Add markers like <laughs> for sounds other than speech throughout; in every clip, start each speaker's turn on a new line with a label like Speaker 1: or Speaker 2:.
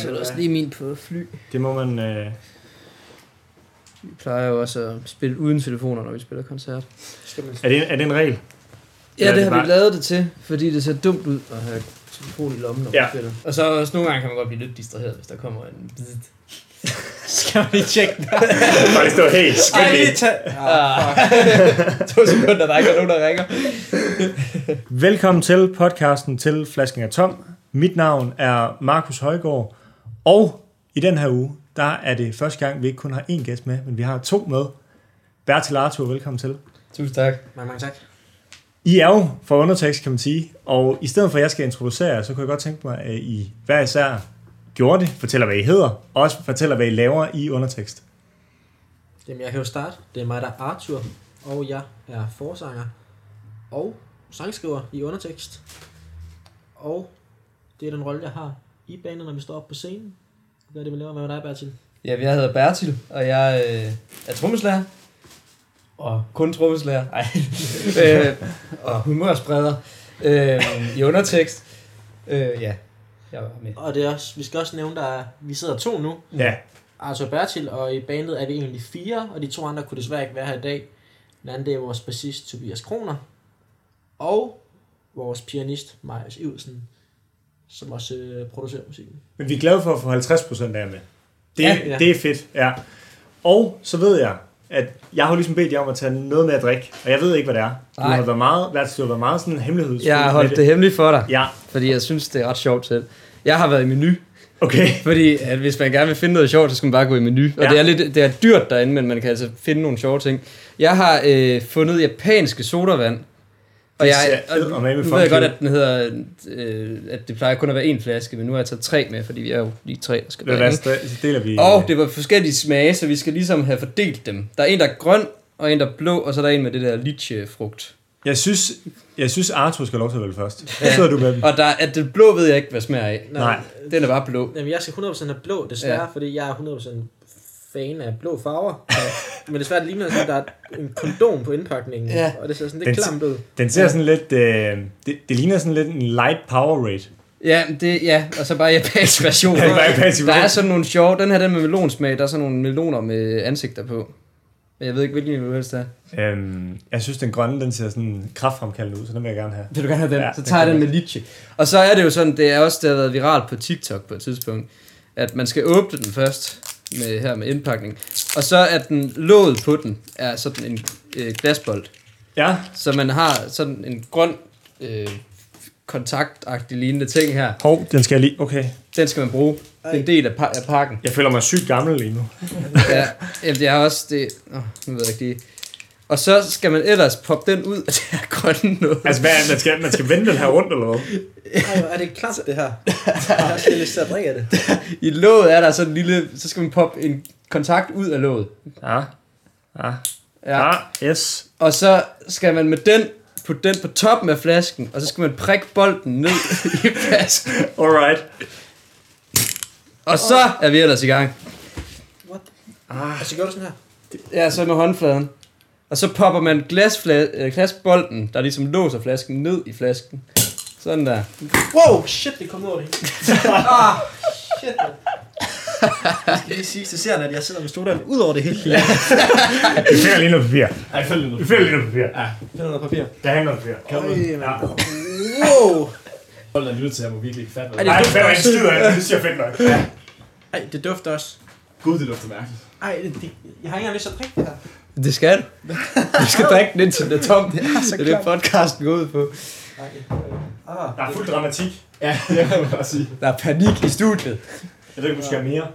Speaker 1: sætter også lige min på fly.
Speaker 2: Det må man... Øh,
Speaker 1: Vi plejer jo også at spille uden telefoner, når vi spiller koncert.
Speaker 3: Skal man...
Speaker 2: er, det, er det en regel?
Speaker 1: Ja,
Speaker 2: Ja,
Speaker 1: det,
Speaker 2: det
Speaker 1: har
Speaker 2: var-
Speaker 1: vi lavet <laughs> det til, fordi det ser dumt ud at have telefon i lommen, når
Speaker 2: Ja.
Speaker 1: man spiller. Og så også nogle gange kan man godt blive lidt distraheret, hvis der kommer en bid.
Speaker 3: Skal man lige tjekke den?
Speaker 2: <laughs> Bare lige stå helt
Speaker 3: Skal
Speaker 2: skidt.
Speaker 3: lige tage... Ah, <laughs> to sekunder, der er ikke nogen, der ringer.
Speaker 2: Velkommen til podcasten til Flasken er Tom. Mit navn er Markus Højgaard, og i den her uge, der er det første gang, vi ikke kun har én gæst med, men vi har to med. Bertil Arthur, velkommen til.
Speaker 1: Tusind tak.
Speaker 3: Mange, mange tak.
Speaker 2: I er jo for undertekst, kan man sige, og i stedet for, at jeg skal introducere jer, så kunne jeg godt tænke mig, at I hver især gjorde det, fortæller, hvad I hedder, og også fortæller, hvad I laver i undertekst.
Speaker 3: Jamen, jeg kan jo starte. Det er mig, der er Arthur, og jeg er forsanger og sangskriver i undertekst. Og det er den rolle, jeg har i banen, når vi står op på scenen. Hvad er det, vi laver? Hvad med dig, Bertil?
Speaker 1: Ja, jeg hedder Bertil, og jeg øh, er trommeslager. Og kun trommeslager.
Speaker 3: <laughs>
Speaker 1: Ej. øh, og humørspreder. Øh, I undertekst. Øh, ja, jeg var med.
Speaker 3: Og det er også, vi skal også nævne, der er, vi sidder to nu.
Speaker 2: Ja,
Speaker 3: Arthur og Bertil, og i bandet er vi egentlig fire, og de to andre kunne desværre ikke være her i dag. Den anden, det er vores bassist Tobias Kroner, og vores pianist Marius Iversen, som også øh, producerer musikken.
Speaker 2: Men vi er glade for at få 50% af med. Det,
Speaker 3: Ja,
Speaker 2: ja,
Speaker 3: ja.
Speaker 2: ja. det er fedt, ja. Og så ved jeg, at jeg har jo ligesom bedt jer om at tage noget med at drikke, og jeg ved ikke, hvad det er. Du
Speaker 1: Nej.
Speaker 2: har været meget, været, du har været meget sådan hemmelighedsfuld
Speaker 1: Jeg har
Speaker 2: med
Speaker 1: holdt det hemmeligt for dig,
Speaker 2: Ja,
Speaker 1: fordi jeg synes, det er ret sjovt selv. Jeg har været i menu,
Speaker 2: okay.
Speaker 1: fordi at hvis man gerne vil finde noget sjovt, så skal man bare gå i menu. Og
Speaker 2: Ja.
Speaker 1: ja. det, er lidt, det er dyrt derinde, men man kan altså finde nogle sjove ting. Jeg har øh, fundet japanske sodavand. Og
Speaker 2: Det
Speaker 1: jeg,
Speaker 2: ser eddermame
Speaker 1: og nu ved
Speaker 2: funky
Speaker 1: jeg godt,
Speaker 2: ud.
Speaker 1: at den hedder, øh, at det plejer kun at være en flaske, men nu har jeg taget tre med, fordi vi er jo lige tre, der skal
Speaker 2: Ved du
Speaker 1: drikke.
Speaker 2: hvad, Så deler vi...
Speaker 1: Og det var forskellige smage, så vi skal ligesom have fordelt dem. Der er en, der er grøn, og en, der er blå, og så er der en med det der litchefrugt.
Speaker 2: Jeg synes, jeg synes Arthur skal have lov til at vælge først. Så sidder du med dem.
Speaker 1: Og der, at den blå ved jeg ikke, hvad smager af.
Speaker 2: Nej.
Speaker 1: Den er bare blå.
Speaker 3: Jamen, jeg skal 100% have blå, desværre, ja. fordi jeg er 100% fan af blå farver. Men desværre det ligner, det, som, der er en kondom på indpakningen,
Speaker 1: Ja.
Speaker 3: og det ser sådan
Speaker 2: Den
Speaker 3: lidt klamt ud.
Speaker 2: Den ser sådan lidt... Øh, det, det, ligner sådan lidt en light Powerade.
Speaker 1: Ja, det, ja, og så bare
Speaker 2: <laughs>
Speaker 1: japansk version.
Speaker 2: Ja, bare japansk
Speaker 1: der er
Speaker 2: version.
Speaker 1: sådan nogle sjove, den her den med melonsmag, der er sådan nogle meloner med ansigter på. Men jeg ved ikke, hvilken du helst er.
Speaker 2: Øhm, jeg synes, den grønne, den ser sådan kraftfremkaldende ud, så den vil jeg gerne have.
Speaker 1: Vil du gerne have den?
Speaker 2: Ja,
Speaker 1: Ja, så
Speaker 2: den
Speaker 1: tager jeg
Speaker 2: kan
Speaker 1: den med litchi. Og så er det jo sådan, det er også, det har været viralt på TikTok på et tidspunkt, at man skal åbne den først, med, her med indpakning. Og så er den låget på den, er sådan en øh, glasbold.
Speaker 2: Ja,
Speaker 1: Så man har sådan en grøn øh, kontaktagtig lignende ting her.
Speaker 2: hov, den skal jeg lige... Okay.
Speaker 1: Den skal man bruge. Det er en del af, pa- af pakken.
Speaker 2: Jeg føler mig sygt gammel lige nu.
Speaker 1: Ja, jamen, det er også det... Oh, nu ved jeg ikke lige. Og så skal man ellers poppe den ud af det her grønne noget.
Speaker 2: Altså, hvad, er- man, skal, man skal vende den her rundt, eller hvad?
Speaker 3: Ej, hvor er det klamt, det her. Jeg skal lige sidde og drikke af det.
Speaker 1: I låget er der sådan en lille... Så skal man poppe en kontakt ud af låget.
Speaker 2: Ja. Ja.
Speaker 1: Ja.
Speaker 2: Ah, yes.
Speaker 1: Og så skal man med den putte den på toppen af flasken, og så skal man prikke bolden ned <laughs> i flasken.
Speaker 2: Alright.
Speaker 1: Og så er vi ellers i gang.
Speaker 3: What? Ah. Og så gør du sådan her.
Speaker 1: Ja, så med håndfladen. Og så popper man glasfla- øh, glasbolden, der ligesom låser flasken, ned i flasken. Sådan der.
Speaker 3: Wow, Oh, shit, det kom ud over det. <laughs> ah, shit, man. Jeg skal lige sige til seerne, at jeg sidder med studeren ud over det hele. Ja.
Speaker 2: Vi finder lige noget papir.
Speaker 4: Ej, følg nu.
Speaker 2: Vi finder lige noget papir.
Speaker 3: Finder noget papir.
Speaker 2: Der hænger noget papir. Kan du? Ja.
Speaker 3: Wow.
Speaker 4: Hold da lytte til, jeg må virkelig ikke fatte, hvad
Speaker 3: Ej,
Speaker 4: det
Speaker 3: det-
Speaker 4: er.
Speaker 2: Ej, det er en skid af. Det synes jeg er fedt nok. Ja.
Speaker 3: Ej, det dufter også.
Speaker 4: Gud, det lugter mærkeligt.
Speaker 3: Ej, det, det, jeg har ikke engang lyst til at drikke det her.
Speaker 1: Det skal du. Du skal drikke den, indtil den er tom. Det er, det, er det podcasten går ud på.
Speaker 3: Ej, øh, ah.
Speaker 2: Der er fuld dramatik.
Speaker 4: <laughs> Ja, det kan man bare sige.
Speaker 1: Der er panik i studiet.
Speaker 2: Jeg ved ikke, om du skal have mere.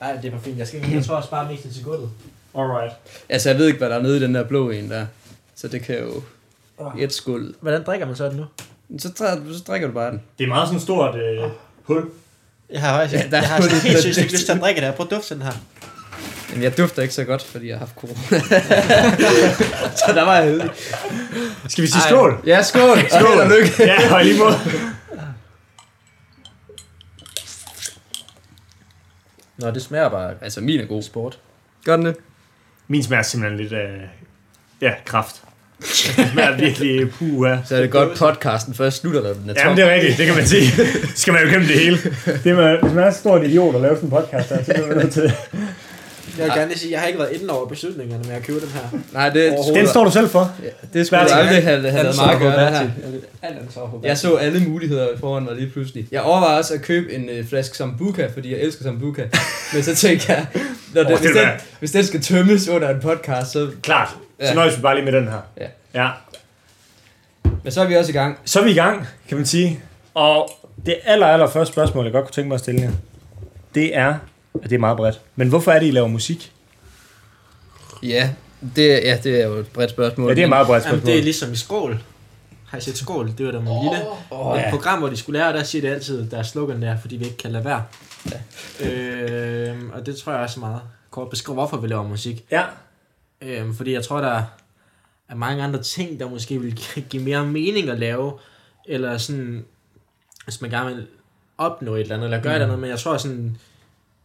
Speaker 3: Nej, det er for fint. Jeg, skal, jeg tror også bare mest til gulvet.
Speaker 2: Alright.
Speaker 1: Altså, jeg ved ikke, hvad der er nede i den der blå en der. Så det kan jo... Et skuld.
Speaker 3: Hvordan drikker man så den nu?
Speaker 1: Så, dri- så drikker du bare den.
Speaker 2: Det er meget sådan et stort øh, hul.
Speaker 3: Jeg har faktisk
Speaker 1: Ja, der er
Speaker 3: <laughs>
Speaker 1: kun lidt duft.
Speaker 3: til at drikke det her. Prøv at dufte til den her.
Speaker 1: Jamen, jeg dufter ikke så godt, fordi jeg har haft corona. så der var jeg hedig.
Speaker 2: Skal vi sige skål?
Speaker 1: Ja, skål. Skål. Og held og lykke.
Speaker 2: Ja, og i lige måde.
Speaker 3: Nå, det smager bare
Speaker 1: Altså, min er god. Sport. Gør den det?
Speaker 2: Min smager simpelthen lidt af... Øh, ja, kraft. Det smager virkelig øh, puha.
Speaker 1: Så er det godt, podcasten først slutter, når den er tom.
Speaker 2: Jamen, det er rigtigt, det kan man sige. Så skal man jo gennem det hele. Det er, man- hvis man er så stor en idiot at lave sådan en podcast her, så bliver man nødt til det.
Speaker 3: Jeg vil gerne lige sige, at jeg har ikke været inde over beslutningerne med at købe den her.
Speaker 1: Nej, det,
Speaker 3: Overhovedet.
Speaker 2: Den står du selv for.
Speaker 1: det skulle
Speaker 2: Bertil.
Speaker 1: jeg aldrig have, have lavet
Speaker 3: Ansvar
Speaker 1: mig at
Speaker 3: på
Speaker 1: gøre det her.
Speaker 3: Bertil. Alt ansvar på
Speaker 1: Jeg så alle muligheder foran mig lige pludselig. Jeg overvejede også at købe en øh, flaske Sambuca, fordi jeg elsker
Speaker 2: <laughs>
Speaker 1: Sambuca. Men så tænkte jeg, når den,
Speaker 2: Åh, det
Speaker 1: hvis,
Speaker 2: er
Speaker 1: den,
Speaker 2: da-
Speaker 1: hvis den skal tømmes under en podcast, så...
Speaker 2: Klart. Så
Speaker 1: Ja.
Speaker 2: nøjes vi bare lige med den her.
Speaker 1: Ja.
Speaker 2: ja.
Speaker 1: Men så er vi også i gang.
Speaker 2: Så er vi i gang, kan man sige. Og det aller, aller første spørgsmål, jeg godt kunne tænke mig at stille jer, det er, og det er meget bredt, men hvorfor er det, I laver musik?
Speaker 1: Ja, det, ja, det er jo et bredt spørgsmål.
Speaker 2: Ja, det er meget bredt
Speaker 3: Jamen,
Speaker 2: spørgsmål.
Speaker 3: det er ligesom i skrål. Har I set skrål? Det var da min lille. Og et program, hvor de skulle lære, der siger det altid, der er slogan der, fordi vi ikke kan lade være. Øhm, og det tror jeg også er meget kort beskriver, hvorfor vi laver musik.
Speaker 2: Ja,
Speaker 3: Øhm, fordi jeg tror, der er mange andre ting, der måske vil give mere mening at lave, eller sådan, hvis man gerne vil opnå et eller andet, eller gøre mm. et eller andet, men jeg tror sådan,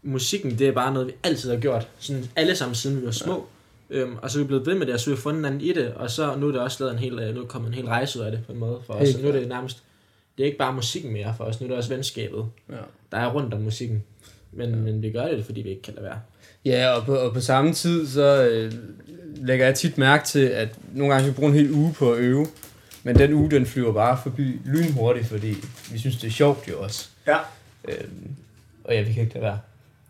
Speaker 3: musikken, det er bare noget, vi altid har gjort, sådan alle sammen siden vi var små, øhm, og så er vi blevet ved med det, og så har vi fundet hinanden i det, og så nu er det også lavet en hel, øh, nu er kommet en hel rejse ud af det, på en måde, for os,
Speaker 1: Helt
Speaker 3: og nu er det nærmest, det er ikke bare musikken mere for os, nu er det også venskabet,
Speaker 1: Ja.
Speaker 3: der er rundt om musikken, men, men vi gør det, fordi vi ikke kan lade være.
Speaker 1: Ja, og på, og på samme tid, så øh, lægger jeg tit mærke til, at nogle gange skal vi bruge en hel uge på at øve. Men den uge, den flyver bare forbi lynhurtigt, fordi vi synes, det er sjovt jo også.
Speaker 2: Ja.
Speaker 1: Øhm, og ja, vi kan ikke lade være.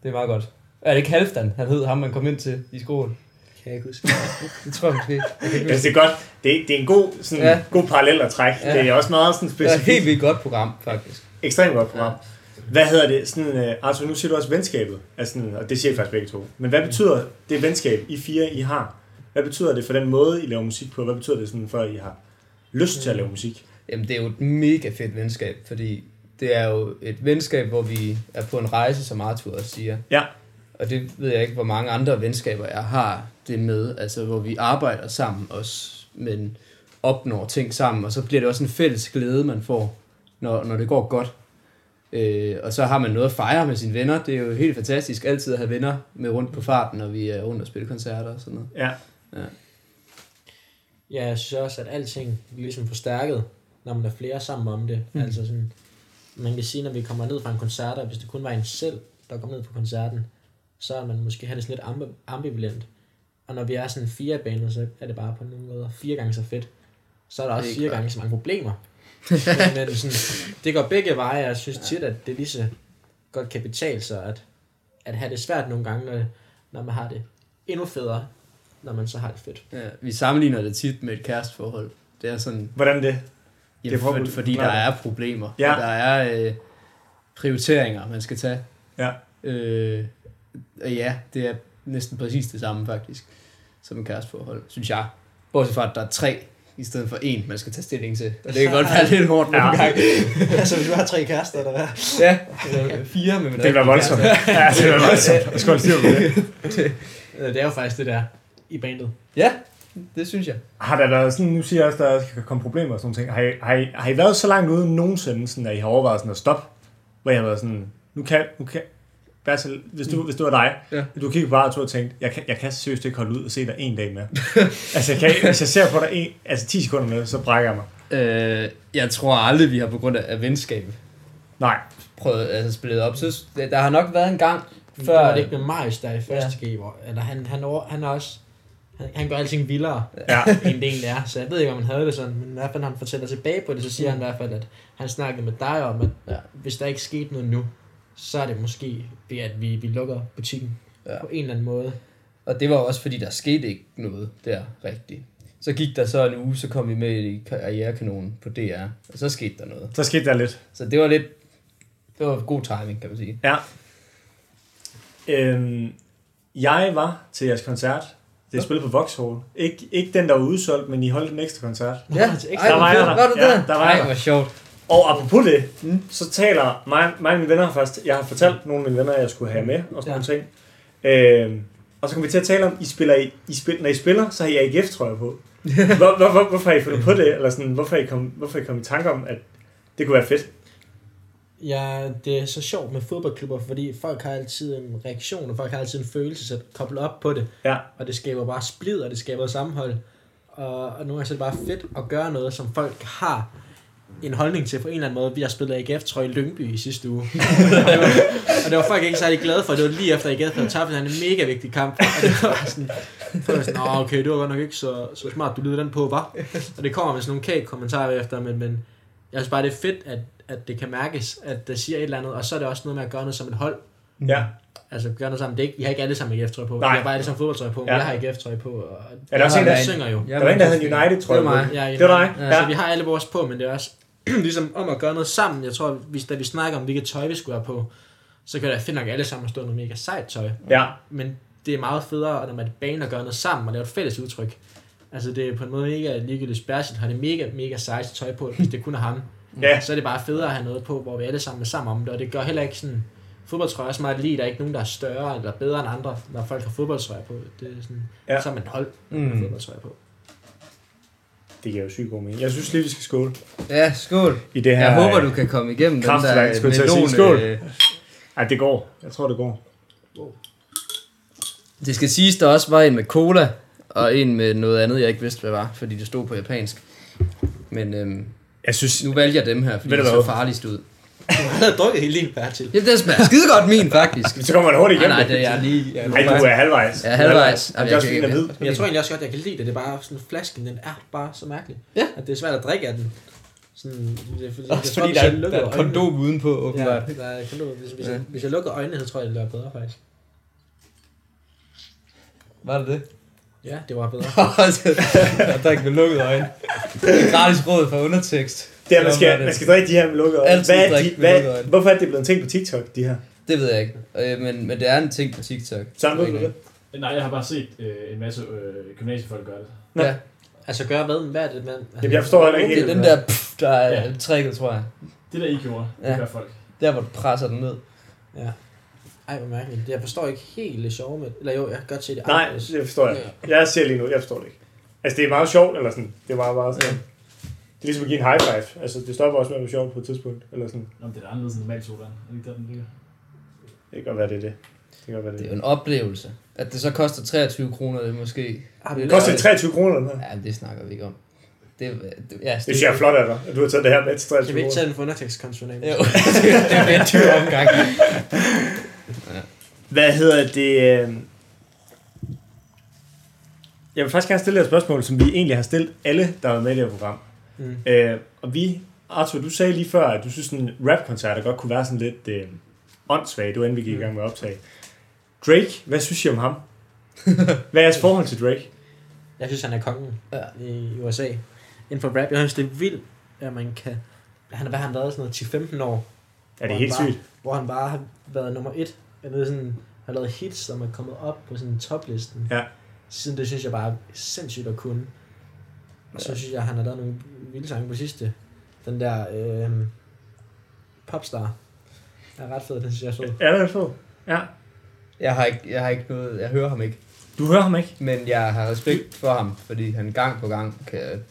Speaker 1: Det er meget godt. Er det ikke Halfdan, han hed ham, man kom ind til i skolen?
Speaker 3: Kan jeg ikke huske.
Speaker 1: <laughs> Det tror jeg måske. Jeg kan ikke
Speaker 2: jeg synes,
Speaker 1: huske.
Speaker 2: det er godt. Det er, det er en god, sådan, ja.
Speaker 1: Ja.
Speaker 2: god parallel at trække. Ja.
Speaker 1: Ja.
Speaker 2: Det er også meget sådan
Speaker 1: det er et
Speaker 2: specifikt.
Speaker 1: helt vildt godt program, faktisk.
Speaker 2: Ekstremt godt program. Hvad hedder det? Sådan, uh, Arthur, nu siger du også venskabet. Altså, sådan, og det siger I faktisk begge to. Men hvad betyder det venskab, I fire I har? Hvad betyder det for den måde, I laver musik på? Hvad betyder det sådan, for, at I har lyst til at lave musik?
Speaker 1: Jamen, det er jo et mega fedt venskab, fordi det er jo et venskab, hvor vi er på en rejse, som Arthur også siger.
Speaker 2: Ja.
Speaker 1: Og det ved jeg ikke, hvor mange andre venskaber jeg har det med, altså hvor vi arbejder sammen også, men opnår ting sammen, og så bliver det også en fælles glæde, man får, når, når det går godt. Øh, og så har man noget at fejre med sine venner. Det er jo helt fantastisk altid at have venner med rundt på farten, når vi er rundt og spiller koncerter og sådan noget.
Speaker 2: Ja.
Speaker 3: Ja, jeg synes også, at alting bliver ligesom forstærket, når man er flere sammen om det. Mm. Altså sådan, man kan sige, når vi kommer ned fra en koncert, og hvis det kun var en selv, der kom ned på koncerten, så er man måske har det sådan lidt ambi- ambivalent. Og når vi er sådan fire baner, så er det bare på nogle måder fire gange så fedt. Så er der også
Speaker 1: Det er
Speaker 3: fire
Speaker 1: klart.
Speaker 3: gange så mange <laughs> problemer. Men sådan, det går begge veje, og jeg synes tit, at det lige så godt kan betale sig, at, at have det svært nogle gange, når, når man har det endnu federe, når man så har det fedt.
Speaker 1: Ja, vi sammenligner det tit med et kæresteforhold. Det er sådan,
Speaker 2: Hvordan det? Det
Speaker 1: Jamen,
Speaker 2: er
Speaker 1: for,
Speaker 2: forbudt.
Speaker 1: fordi der
Speaker 2: Nej.
Speaker 1: er problemer.
Speaker 2: Ja.
Speaker 1: Ja. Der er øh, prioriteringer, man skal tage.
Speaker 2: Ja.
Speaker 1: Øh, og ja, det er næsten præcis det samme faktisk, som en kæresteforhold, synes jeg. Bortset fra, at der er tre i stedet for én, man skal tage stilling til. Og det kan godt
Speaker 2: <laughs>
Speaker 1: være lidt hårdt nogle
Speaker 2: Ja.
Speaker 1: ja. gange.
Speaker 3: <laughs> altså, hvis du har tre kærester, der er.
Speaker 1: Ja, eller fire, men man
Speaker 2: Det vil være voldsomt. Ja, det vil være voldsomt. Jeg skal holde styr på det.
Speaker 3: Øh, Det er jo faktisk det der i bandet.
Speaker 1: Ja, det synes jeg.
Speaker 2: Har der været sådan, nu siger jeg også, der kan komme problemer og sådan nogle ting. Har I, har, I, har I været så langt ude nogensinde, sådan, at I har overvejet sådan at stoppe? Hvor jeg har været sådan, nu kan, nu kan, Bertil, hvis du, hvis du var dig,
Speaker 1: Ja.
Speaker 2: du kigger på Arthur og tænkte, jeg kan, jeg kan seriøst ikke holde ud og se dig en dag mere. altså, jeg kan, hvis jeg ser på dig en, altså 10 sekunder med, så brækker jeg mig.
Speaker 1: Øh, jeg tror aldrig, vi har på grund af, af venskab
Speaker 2: Nej,
Speaker 1: prøvet altså spillet op. Så der har nok været en gang
Speaker 3: Før Mm. det var
Speaker 1: før...
Speaker 3: det ikke med Marius, der er i første G, hvor eller han, han, over, han er også... Han, han gør alting vildere,
Speaker 2: ja.
Speaker 3: end det egentlig er. Så jeg ved ikke, om han havde det sådan, men i hvert fald, når han fortæller tilbage på det, så siger han i hvert fald, at han snakkede med dig om, at Mm. ja.
Speaker 1: Ja.
Speaker 3: hvis der ikke skete noget nu, så er det måske ved, at vi, vi lukker butikken ja.
Speaker 1: Ja.
Speaker 3: på en eller anden måde.
Speaker 1: Og det var også fordi, der skete ikke noget der rigtigt. Så gik der så en uge, så kom vi med i karrierekanonen på DR, og så skete der noget.
Speaker 2: Så skete der lidt.
Speaker 1: Så det var lidt, det var god timing, kan man sige.
Speaker 2: Ja. Øhm, jeg var til jeres koncert. Det er spillet på Vauxhall. Ik- ikke den, der var udsolgt, men I holdt en ekstra koncert.
Speaker 3: Ja, <laughs>
Speaker 1: ej,
Speaker 3: der
Speaker 1: hvor
Speaker 2: var jeg
Speaker 1: fedt.
Speaker 2: der.
Speaker 1: Var du
Speaker 2: Ja,
Speaker 1: der?
Speaker 2: der var jeg
Speaker 1: Ej,
Speaker 2: der.
Speaker 1: hvor sjovt.
Speaker 2: Og apropos det, mm. så taler mig, mig og mine venner først. Jeg har fortalt nogle af mine venner, at jeg skulle have med og sådan ja. nogle ting. Øh, og så kom vi til at tale om, I spiller, I, I spil, når I spiller, så har I AGF trøjer <laughs> på. Hvor, hvor, hvor, hvorfor har I fundet på det? Eller sådan, hvorfor har I kom, hvorfor er I kom i tanke om, at det kunne være fedt?
Speaker 3: Ja, det er så sjovt med fodboldklubber, fordi folk har altid en reaktion, og folk har altid en følelse, så koblet op på det.
Speaker 2: Ja.
Speaker 3: Og det skaber bare splid, og det skaber sammenhold. og, og nogle gange så er det bare fedt at gøre noget, som folk har en holdning til på en eller anden måde. Vi har spillet AGF, tror jeg, i Lyngby i sidste uge. og, det var, og det var folk ikke særlig glade for. Det var lige efter AGF havde tabt en mega vigtig kamp. Og det var bare sådan, folk var sådan, Nå, okay, det var godt nok ikke så, så smart, du lyder den på, var. Og det kommer med sådan nogle kage-kommentarer efter, men, men jeg synes bare, det er fedt, at, at det kan mærkes, at der siger et eller andet, og så er det også noget med at gøre noget som et hold.
Speaker 2: Ja.
Speaker 3: Altså, gør noget sammen. Det er ikke, vi har ikke alle sammen AGF-trøj på.
Speaker 2: Nej.
Speaker 3: Nej. Vi har bare alle sammen fodboldtrøj på, men
Speaker 2: Ja.
Speaker 3: ja. jeg har AGF-trøj på. Og
Speaker 2: der også en,
Speaker 3: der
Speaker 2: der-
Speaker 3: synger jo.
Speaker 2: Der var en, der havde en United-trøje
Speaker 1: Det var mig.
Speaker 2: på.
Speaker 3: Ja,
Speaker 2: Det var dig.
Speaker 3: Ja. Så vi
Speaker 2: Ja.
Speaker 3: har alle vores på, men det er også <clears throat> ligesom om at gøre noget sammen. Jeg tror, hvis, da vi snakker om, hvilket tøj vi skulle have på, så kan det fedt nok alle sammen stå i noget mega sejt tøj.
Speaker 2: Ja.
Speaker 3: Men det er meget federe, når man er bane og gør noget sammen og laver et fælles udtryk. Altså det er på en måde ikke ligegyldigt Bersin har det mega, mega sejt tøj på, hvis det kun er <laughs> ham.
Speaker 2: Ja.
Speaker 3: Så er det bare federe at have noget på, hvor vi alle sammen er sammen om det, og det gør heller ikke sådan... Fodboldtrøjer er så meget lige, der er ikke nogen, der er større eller bedre end andre, når folk har fodboldtrøjer på. Det er sådan,
Speaker 2: Ja.
Speaker 3: ja. så er man et hold med
Speaker 2: Mm.
Speaker 3: fodboldtrøjer <laughs> på.
Speaker 2: Det giver jo sygt god mening. Jeg synes lige, vi skal skåle
Speaker 1: Ja, skål.
Speaker 2: i det her.
Speaker 1: Jeg håber, du kan komme igennem den der
Speaker 2: kraftværk, skulle jeg til at sige.
Speaker 1: melon,
Speaker 2: Skål.
Speaker 1: øh,
Speaker 2: Ej, det går. Jeg tror, det går.
Speaker 1: Det skal siges, der også var en med cola, og en med noget andet, jeg ikke vidste, hvad var, fordi det stod på japansk. Men øhm,
Speaker 2: Jeg synes...
Speaker 1: nu vælger jeg dem her, fordi
Speaker 2: Ved du
Speaker 1: det så
Speaker 2: hvad?
Speaker 1: farligst ud.
Speaker 3: Han havde drukket hele din bær til.
Speaker 1: Ja, det smager skide godt min, faktisk.
Speaker 2: Så kommer man hurtigt
Speaker 1: Nej,
Speaker 2: igennem.
Speaker 1: Ah, nej, det er jeg lige... Jeg
Speaker 2: Ej, du er halvvejs.
Speaker 1: Ja, halvvejs.
Speaker 2: Jamen, det er også fint
Speaker 1: Jamen,
Speaker 2: at
Speaker 1: jeg kan
Speaker 2: vide.
Speaker 3: Men jeg tror egentlig også godt, jeg kan lide det. Det er bare sådan, flasken, den er bare så mærkelig.
Speaker 1: Ja.
Speaker 3: At det er svært at drikke af den. Sådan, det er, fordi, jeg
Speaker 1: Også
Speaker 3: tror,
Speaker 1: fordi
Speaker 3: hvis
Speaker 1: der,
Speaker 3: jeg
Speaker 1: er-
Speaker 3: lukker
Speaker 1: der er et
Speaker 3: øjnene-
Speaker 1: kondom udenpå, åbenbart.
Speaker 3: Ja, der er et kondom. Hvis, hvis,
Speaker 1: Ja.
Speaker 3: jeg, hvis jeg lukker øjnene, så tror jeg, det bliver bedre faktisk.
Speaker 1: Var det <laughs> det?
Speaker 3: Ja, det var bedre.
Speaker 1: jeg drak med lukkede øjne. Det er gratis råd fra undertekst.
Speaker 2: Det er, man
Speaker 1: Sådan
Speaker 2: skal, man skal drikke de her med lukkede øjne.
Speaker 1: Altid
Speaker 2: Hvad er
Speaker 1: drikke
Speaker 2: de,
Speaker 1: med lukkede
Speaker 2: hvad,
Speaker 1: øjne.
Speaker 2: hvorfor er det blevet en ting på TikTok, de her?
Speaker 1: Det ved jeg ikke, øh, men, men det er en ting på TikTok.
Speaker 2: Sammen ved du det?
Speaker 4: Nej, jeg har bare set øh, en masse øh, gymnasiefolk gøre det.
Speaker 2: Nå.
Speaker 1: Ja,
Speaker 3: altså gør hvad? Hvad er det, man? Altså,
Speaker 2: Jamen, jeg forstår heller ikke
Speaker 1: det
Speaker 2: helt.
Speaker 1: er den der, pff, der er
Speaker 4: Ja.
Speaker 1: tricket, tror jeg.
Speaker 4: Det der, I gjorde, det
Speaker 1: Ja.
Speaker 4: gør folk.
Speaker 1: Der, hvor du presser den ned.
Speaker 3: Ja. Ej, hvor mærkeligt. Jeg forstår ikke helt det sjove med Eller jo, jeg kan godt se det.
Speaker 2: Nej,
Speaker 3: anderledes.
Speaker 2: det forstår jeg. Jeg ser lige nu, jeg forstår det ikke. Altså, det er meget sjovt, eller sådan. Det er meget, meget sådan. Det er ligesom at give en high five. Altså, det stopper også med at være sjovt på et tidspunkt. Eller sådan.
Speaker 4: Nå, men det er da anderledes end normalt sodaen. Er det ikke der, den ligger?
Speaker 2: Det kan godt være, det er det. Det kan godt være, det
Speaker 1: Det er
Speaker 2: er
Speaker 1: jo en oplevelse. At det så koster 23 kroner, det er måske...
Speaker 3: Har du
Speaker 1: Det
Speaker 2: det.
Speaker 1: er-
Speaker 2: Koster det 23 kroner, den her?
Speaker 1: Ja, det snakker vi ikke om. Det, det, ja,
Speaker 2: Det synes jeg er flot af dig, at du har taget det her med til
Speaker 3: Kan
Speaker 2: 23
Speaker 3: vi ikke
Speaker 2: kroner.
Speaker 3: tage den for undertekstkonsulent?
Speaker 1: Jo, <laughs> det er en dyr omgang.
Speaker 2: Hvad hedder det? øh, Jeg vil faktisk gerne stille dig et spørgsmål, som vi egentlig har stillet alle, der er med i det her program.
Speaker 3: Mm.
Speaker 2: Øh, og vi, Arthur, du sagde lige før, at du synes, en rapkoncerter godt kunne være sådan lidt øh, åndssvag. Du endelig gik i gang med at optage. Drake, hvad synes I om ham? Hvad er jeres forhold til Drake?
Speaker 3: Jeg synes, han er kongen
Speaker 1: Ja.
Speaker 3: ja. i USA. Inden for rap, jeg synes, det er vildt, at man kan... Han, hvad har han været sådan noget 10-15 år,
Speaker 2: Er det helt sygt?
Speaker 3: hvor han bare har været nummer et. Eller sådan, har lavet hits, som er kommet op på sådan toplisten.
Speaker 2: Ja.
Speaker 3: Siden det synes jeg bare er sindssygt at kunne. Og så synes jeg, han har lavet nogle vilde sange på sidste. Den der øh, popstar. Den er ret fed, den synes jeg er fed.
Speaker 2: Er det fed? Ja.
Speaker 1: Jeg har, ikke, jeg har ikke noget... Jeg hører ham ikke.
Speaker 2: Du hører ham ikke?
Speaker 1: Men jeg har respekt for ham, fordi han gang på gang kan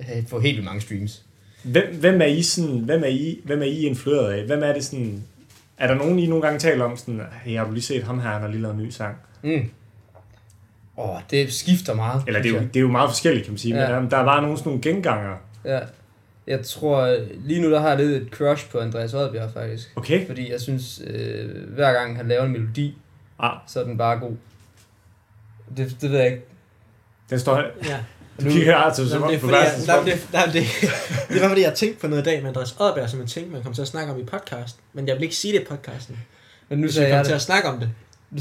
Speaker 1: have- få helt vildt mange streams.
Speaker 2: Hvem, hvem, er I sådan, hvem, er I, hvem er I influeret af? Hvem er det sådan... Er der nogen, I nogle gange taler om sådan, hey, har du lige set ham her, han har lige lavet en ny sang?
Speaker 1: Mm. Åh, det skifter meget.
Speaker 2: Eller det er,
Speaker 1: synes
Speaker 2: jo,
Speaker 1: jeg.
Speaker 2: det er jo meget forskelligt, kan man sige. Ja.
Speaker 1: Ja.
Speaker 2: Men der, der er bare nogle sådan nogle gengangere.
Speaker 1: Ja. Jeg tror, lige nu der har jeg lidt et crush på Andreas Odbjerg, faktisk.
Speaker 2: Okay.
Speaker 1: Fordi jeg synes, øh, hver gang han laver en melodi,
Speaker 2: Ah,
Speaker 1: så er den bare god. Det, det ved jeg ikke.
Speaker 2: den står her.
Speaker 3: Ja.
Speaker 2: Du kigger her til,
Speaker 3: Nå,
Speaker 2: som
Speaker 3: men
Speaker 2: om
Speaker 3: det er
Speaker 2: på
Speaker 3: fordi, jeg,
Speaker 2: verden.
Speaker 3: nej, men det, nej, men det, det var fordi, jeg tænkte på noget i dag med Andreas Odberg, som jeg tænkte, man kom til at snakke om i podcast. Men jeg vil ikke sige det i podcasten.
Speaker 1: Men nu
Speaker 3: Nu skal
Speaker 1: sagde
Speaker 3: jeg
Speaker 1: jeg
Speaker 3: kom til
Speaker 1: det.
Speaker 3: at snakke om det.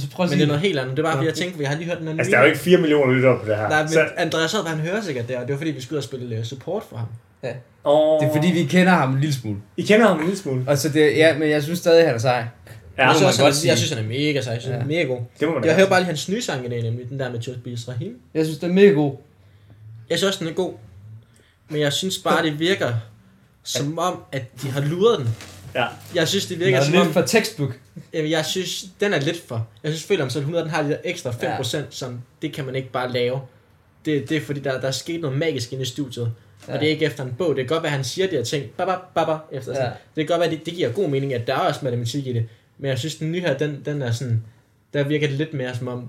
Speaker 1: Så prøv at
Speaker 3: Men det
Speaker 1: sige
Speaker 3: er noget helt andet. Det var
Speaker 1: Nå.
Speaker 3: fordi, jeg tænkte, vi har lige hørt den anden
Speaker 2: Altså, der er jo ikke 4 millioner lyttere på det her.
Speaker 3: Nej, men
Speaker 2: Så-
Speaker 3: Andreas Odberg, han hører sikkert det, og det var fordi, vi skulle ud og spille øh, support for ham.
Speaker 2: Åh.
Speaker 1: Det er fordi, vi kender ham en lille smule.
Speaker 2: I kender ham en lille smule.
Speaker 1: Og så det, ja, men jeg synes stadig, han er sej.
Speaker 2: Ja,
Speaker 3: jeg,
Speaker 1: må
Speaker 3: synes,
Speaker 1: man
Speaker 3: også, han,
Speaker 1: godt
Speaker 3: er-
Speaker 1: sige.
Speaker 3: jeg synes, han er mega sej. Jeg synes, han er mega god.
Speaker 2: det må man da
Speaker 3: Jeg
Speaker 2: gerne
Speaker 3: hører bare lige hans nye sang i dag, nemlig den der med Just Be Rahim.
Speaker 1: Jeg synes, det er mega god.
Speaker 3: Jeg synes også, den er god. Men jeg synes bare, det virker som om, at de har luret den.
Speaker 2: sige. Ja.
Speaker 3: Jeg synes, det
Speaker 1: Det
Speaker 3: virker
Speaker 1: er
Speaker 3: som om,
Speaker 1: lidt for textbook.
Speaker 3: Jamen, jeg synes, den er lidt for. Jeg synes, Føler om 100, den har de der ekstra 5%, ja. som det kan man ikke bare lave. Det, det er fordi, der, der er sket noget magisk inde i studiet. Ja.
Speaker 1: Ja.
Speaker 3: Og det er ikke efter en bog. Det kan godt være, at han siger de her ting. Baba, baba, efter sådan.
Speaker 1: Ja.
Speaker 3: Ja. Det kan godt være, at det, det giver god mening, at der er også matematik i det. Men jeg synes, den nye her, den, den er sådan... Der virker det lidt mere som om,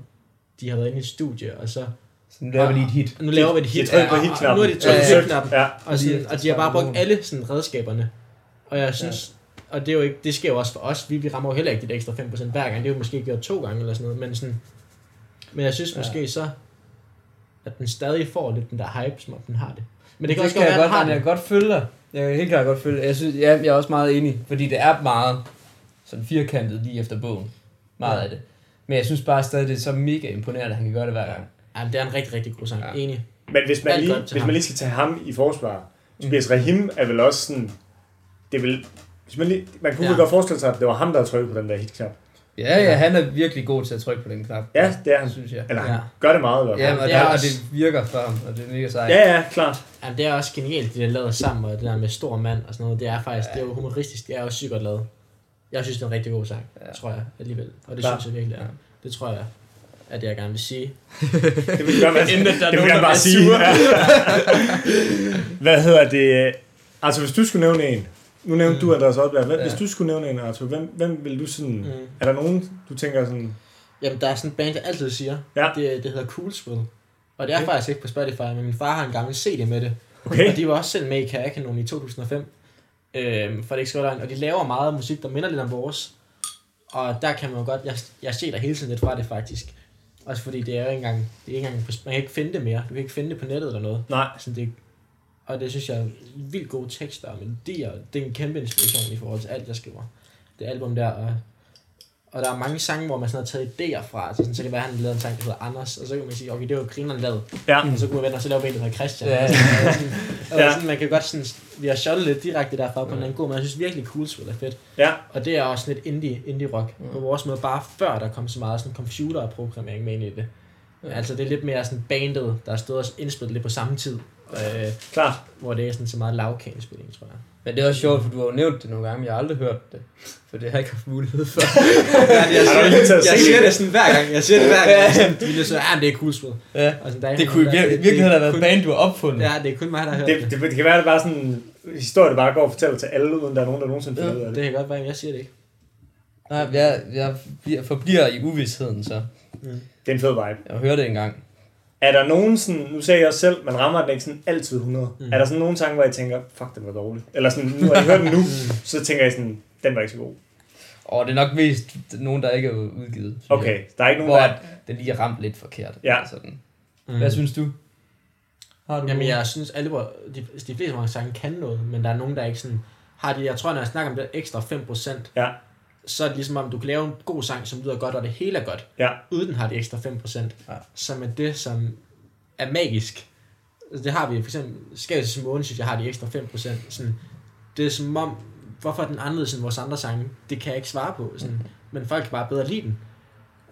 Speaker 3: de har været inde i et studie, og så
Speaker 1: Så nu laver vi lige et hit.
Speaker 3: Nu laver vi et hit.
Speaker 2: De trykker på
Speaker 3: og- og-
Speaker 2: hitknappen.
Speaker 3: og Nu er de
Speaker 1: Ja,
Speaker 3: trykket
Speaker 1: ja.
Speaker 3: på hitknappen.
Speaker 2: Ja.
Speaker 3: Og, sådan,
Speaker 1: Lige
Speaker 3: og de har bare
Speaker 1: efter
Speaker 3: brugt alle sådan redskaberne. Og jeg synes, og det er jo ikke, det sker jo også for os, vi, vi rammer jo heller ikke de ekstra 5% hver gang, det er jo måske gjort to gange eller sådan noget, men sådan, men jeg synes
Speaker 1: Ja.
Speaker 3: måske så, at den stadig får lidt den der hype, som om den har det. Men det kan
Speaker 1: det
Speaker 3: også
Speaker 1: kan
Speaker 3: godt
Speaker 1: jeg
Speaker 3: være,
Speaker 1: godt,
Speaker 3: at den har
Speaker 1: men jeg
Speaker 3: det.
Speaker 1: kan godt følge dig. Jeg kan helt klart godt følge dig. Jeg, synes, ja, jeg er også meget enig, fordi det er meget sådan firkantet lige efter bogen. Meget
Speaker 3: Ja.
Speaker 1: af det. Men jeg synes bare stadig, det er så mega imponerende, at han kan gøre det hver gang.
Speaker 3: Ja, det er en rigtig, rigtig god sang,
Speaker 1: Ja.
Speaker 3: ja. enig.
Speaker 2: Men hvis man,
Speaker 3: Alt
Speaker 2: lige,
Speaker 3: godt til
Speaker 2: hvis
Speaker 3: ham. Mm.
Speaker 2: man lige skal tage ham i forsvar, Tobias Rahim er vel også sådan, det er vel, hvis man, lige, man kunne ja.
Speaker 3: Ja.
Speaker 2: godt forestille sig, at det var ham, der havde trykket på den der hitknap.
Speaker 1: Ja, ja, han er virkelig god til at trykke på den knap.
Speaker 2: Ja, det er han.
Speaker 1: synes jeg.
Speaker 2: Eller han
Speaker 3: Ja.
Speaker 2: gør det meget i hvert fald.
Speaker 1: Ja, og
Speaker 3: det er
Speaker 1: det, og
Speaker 3: også-
Speaker 1: det virker for ham, og det er mega sejt.
Speaker 2: ja, ja, klart.
Speaker 3: Jamen, det er også genialt, det der er lavet sammen, og det der med stor mand og sådan noget, det er faktisk, ja. det er jo humoristisk, det er også sygt godt lavet. Jeg synes, det er en rigtig god sang,
Speaker 1: Ja.
Speaker 3: ja. tror jeg alligevel, og det
Speaker 1: Klar.
Speaker 3: synes jeg virkelig er.
Speaker 1: Ja.
Speaker 3: Det tror jeg, at jeg gerne vil sige.
Speaker 2: Det vil jeg,
Speaker 3: Inden at der
Speaker 2: det
Speaker 3: er
Speaker 2: vil
Speaker 3: nogen,
Speaker 2: jeg bare
Speaker 3: der bliver
Speaker 2: sige.
Speaker 3: sure.
Speaker 2: Ja. Hvad hedder det? Altså, hvis du skulle nævne en, nu nævnte mm. du Andreas Oddbjerg, Hvem-
Speaker 1: Ja.
Speaker 2: hvis du skulle nævne en, Arthur, hvem, hvem vil du sådan, mm.
Speaker 3: Mm.
Speaker 2: er der nogen, du tænker sådan,
Speaker 3: Jamen, der er sådan en band, jeg altid siger.
Speaker 2: Ja.
Speaker 3: Det, det hedder Coolsville. Og det er
Speaker 2: Okay.
Speaker 3: okay. faktisk ikke på Spotify, men min far har en gammel CD med det.
Speaker 2: okay,
Speaker 3: Og de var også selv med i Kajakanonen i 2005. Øhm, for det ikke skal være løgn. Og de laver meget musik, der minder lidt om vores. Og der kan man jo godt... Jeg, jeg ser der hele tiden lidt fra det, faktisk. Også fordi det er jo ikke engang... Det er ikke engang på, man kan ikke finde det mere. Du kan ikke finde det på nettet eller noget.
Speaker 2: nej,
Speaker 3: Altså, det, og det synes jeg er vildt gode tekster og melodier. Det er en kæmpe inspiration i forhold til alt, jeg skriver. Det album der, og, og der er mange sange, hvor man sådan har taget idéer fra. Altså sådan, så kan det være, at han lavede en sang, der hedder Anders, og så kan man sige, okay, det var grineren lavet.
Speaker 2: ja,
Speaker 3: Og så kunne man vende, og så lave en, der hedder Christian.
Speaker 1: Ja.
Speaker 3: Ja. Sådan, og
Speaker 2: Ja.
Speaker 3: sådan, man kan godt sådan, vi har shottet lidt direkte derfra på en eller anden god måde. Jeg synes virkelig, cool spil er fedt.
Speaker 2: ja,
Speaker 3: Og det er også sådan lidt indie, indie rock. På vores måde, bare før der kom så meget sådan computerprogrammering med ind i det. Altså det er lidt mere sådan bandet, der har stået og indspillet lidt på samme tid. Øh,
Speaker 2: klart.
Speaker 3: hvor det er sådan så meget lavkagespilling, tror jeg.
Speaker 1: Men det er også sjovt, for du har jo nævnt det nogle gange, men jeg har aldrig hørt det. For det har jeg ikke haft mulighed for.
Speaker 3: jeg,
Speaker 2: Har du ikke taget
Speaker 3: jeg
Speaker 2: sig
Speaker 3: siger
Speaker 2: det?
Speaker 3: det sådan hver gang. Jeg siger det hver gang. Sådan, de bliver så, ja, det er cool spil.
Speaker 1: ja.
Speaker 3: Og sådan, der er
Speaker 1: Det
Speaker 3: ikke
Speaker 1: kunne i
Speaker 3: nogen, der-
Speaker 1: vir-
Speaker 3: det-
Speaker 1: virkeligheden have været
Speaker 3: kun-
Speaker 1: et band, du har opfundet.
Speaker 3: Ja, det er kun mig, der har hørt
Speaker 2: Det,
Speaker 3: det.
Speaker 2: det, det kan være, at det bare er sådan en historie, der bare går og fortæller til alle, uden der er nogen, der nogensinde finder
Speaker 1: Ja,
Speaker 2: ud af det.
Speaker 3: Det kan godt være, men jeg siger det ikke.
Speaker 1: Nej, jeg, jeg bliver- forbliver i uvidsheden, så
Speaker 2: Det er en fed vibe.
Speaker 1: jeg hører det engang.
Speaker 2: Er der nogen sådan, nu sagde jeg også selv, man rammer den ikke sådan altid 100. Mm.
Speaker 3: Mm.
Speaker 2: Er der sådan nogle sange, hvor jeg tænker, fuck, den var dårlig. Eller sådan, nu har jeg hørt den nu, så tænker jeg sådan, den var ikke så god.
Speaker 1: Og det er nok mest nogen, der ikke er udgivet. synes jeg.
Speaker 2: Okay, der er ikke nogen,
Speaker 1: Hvor
Speaker 2: der...
Speaker 1: at den lige er ramt lidt forkert.
Speaker 2: Ja.
Speaker 1: eller Sådan. Hvad
Speaker 3: Altså,
Speaker 1: synes du? Har du
Speaker 3: Mm. Jamen, jeg synes, alle, hvor- de, de fleste af vores sange kan noget, men der er nogen, der ikke sådan har det. Jeg tror, når jeg snakker om det ekstra 5%,
Speaker 2: Ja.
Speaker 3: så er det ligesom om, du kan lave en god sang, som lyder godt, og det hele er godt,
Speaker 2: Ja.
Speaker 3: uden den har de ekstra 5%,
Speaker 1: Ja.
Speaker 3: som er det, som er magisk. Altså, Det har vi for eksempel, Skavs Måne, synes jeg, har de ekstra 5%. Sådan, det er som om, hvorfor er den anderledes end vores andre sange? Det kan jeg ikke svare på. Sådan, Men folk kan bare bedre lide den.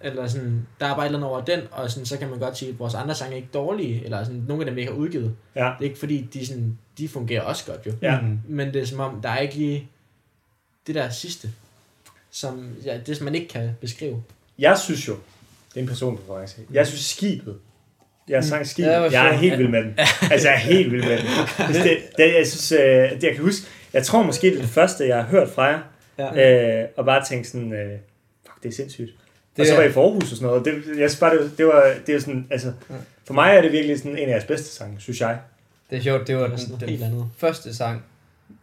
Speaker 3: Eller sådan, der er bare et eller andet over den, og sådan, så kan man godt sige, at vores andre sange er ikke dårlige, eller sådan, nogle af dem, vi ikke har udgivet.
Speaker 2: Ja.
Speaker 3: Det er ikke fordi, de, sådan, de fungerer også godt jo.
Speaker 2: Ja.
Speaker 1: Mm.
Speaker 3: Men det er som om, der er ikke lige det der sidste, som ja, det, som man ikke kan beskrive.
Speaker 2: Jeg synes jo, det er en personpreference. Jeg synes skibet. Jeg sang skibet.
Speaker 1: Mm. Ja, hvor
Speaker 2: jeg er
Speaker 1: sjovt.
Speaker 2: helt vild med den. <laughs> Altså, jeg er helt vild med den. Altså, Det, det, jeg synes, øh, det jeg kan huske, jeg tror måske, det er det første, jeg har hørt fra jer. Ja. Øh, og bare tænkt sådan, øh, fuck, det er sindssygt. Det,
Speaker 1: Det
Speaker 2: og så
Speaker 1: er-
Speaker 2: var jeg i Forhus og sådan noget. Det, jeg synes bare, det, var- det var, det var sådan, altså,
Speaker 1: Mm.
Speaker 2: for mig er det virkelig sådan en af jeres bedste sange, synes jeg.
Speaker 1: Det er sjovt, det var
Speaker 3: Det er sådan
Speaker 1: den,
Speaker 3: noget
Speaker 1: den
Speaker 3: helt andet.
Speaker 1: første sang,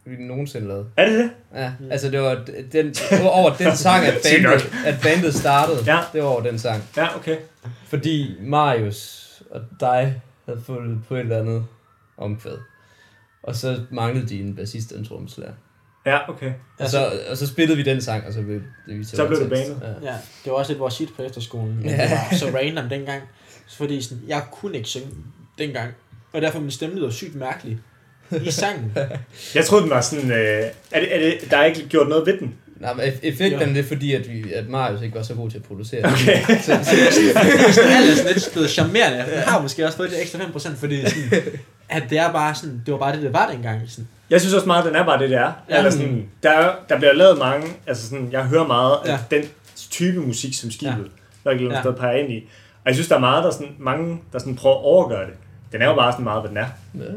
Speaker 1: vi nogensinde lavede.
Speaker 2: Er det det?
Speaker 1: Ja,
Speaker 3: Mm.
Speaker 1: altså det var d- den, det var over den sang, at
Speaker 2: <laughs> Sygt nok.
Speaker 1: bandet, at bandet startede.
Speaker 2: Ja.
Speaker 1: Det var over den sang.
Speaker 2: Ja, okay.
Speaker 1: Fordi Marius og dig havde fundet på et eller andet omkvæd. Og så manglede de en bassist og en trommeslager.
Speaker 2: Ja, okay.
Speaker 1: Og så, og så spillede vi den sang, og så blev det vi
Speaker 2: Altså- Så blev det
Speaker 1: Ja.
Speaker 3: Ja, det var også lidt vores shit på <laughs> efterskolen, men
Speaker 1: Ja.
Speaker 3: det var så random dengang. Fordi sådan, jeg kunne ikke synge dengang, og derfor min stemme lyder sygt mærkelig i <laughs> sangen.
Speaker 2: Jeg troede, den var sådan, øh, er det, er det, der er ikke gjort noget ved den.
Speaker 1: Nej, men eff- effekten det er fordi, at, vi, at Marius ikke var så god til at producere.
Speaker 2: Okay.
Speaker 1: <laughs> så, så,
Speaker 3: Det er altså lidt blevet charmerende. Jeg har måske også fået det ekstra 5%, fordi sådan, at det er bare sådan, det var bare det, det var dengang. Sådan.
Speaker 2: Jeg synes også meget, at den er bare det, det er. Ja.
Speaker 3: Ja.
Speaker 2: Eller sådan, der, er- der bliver lavet mange, altså sådan, jeg hører meget af ja.
Speaker 3: Ja.
Speaker 2: den type musik, som skibet, ja. der er
Speaker 3: Ja.
Speaker 2: sted peger ind i. Og jeg synes, der er meget, der er sådan, mange, der sådan prøver at overgøre det. Den er jo bare sådan meget, hvad den er. Jeg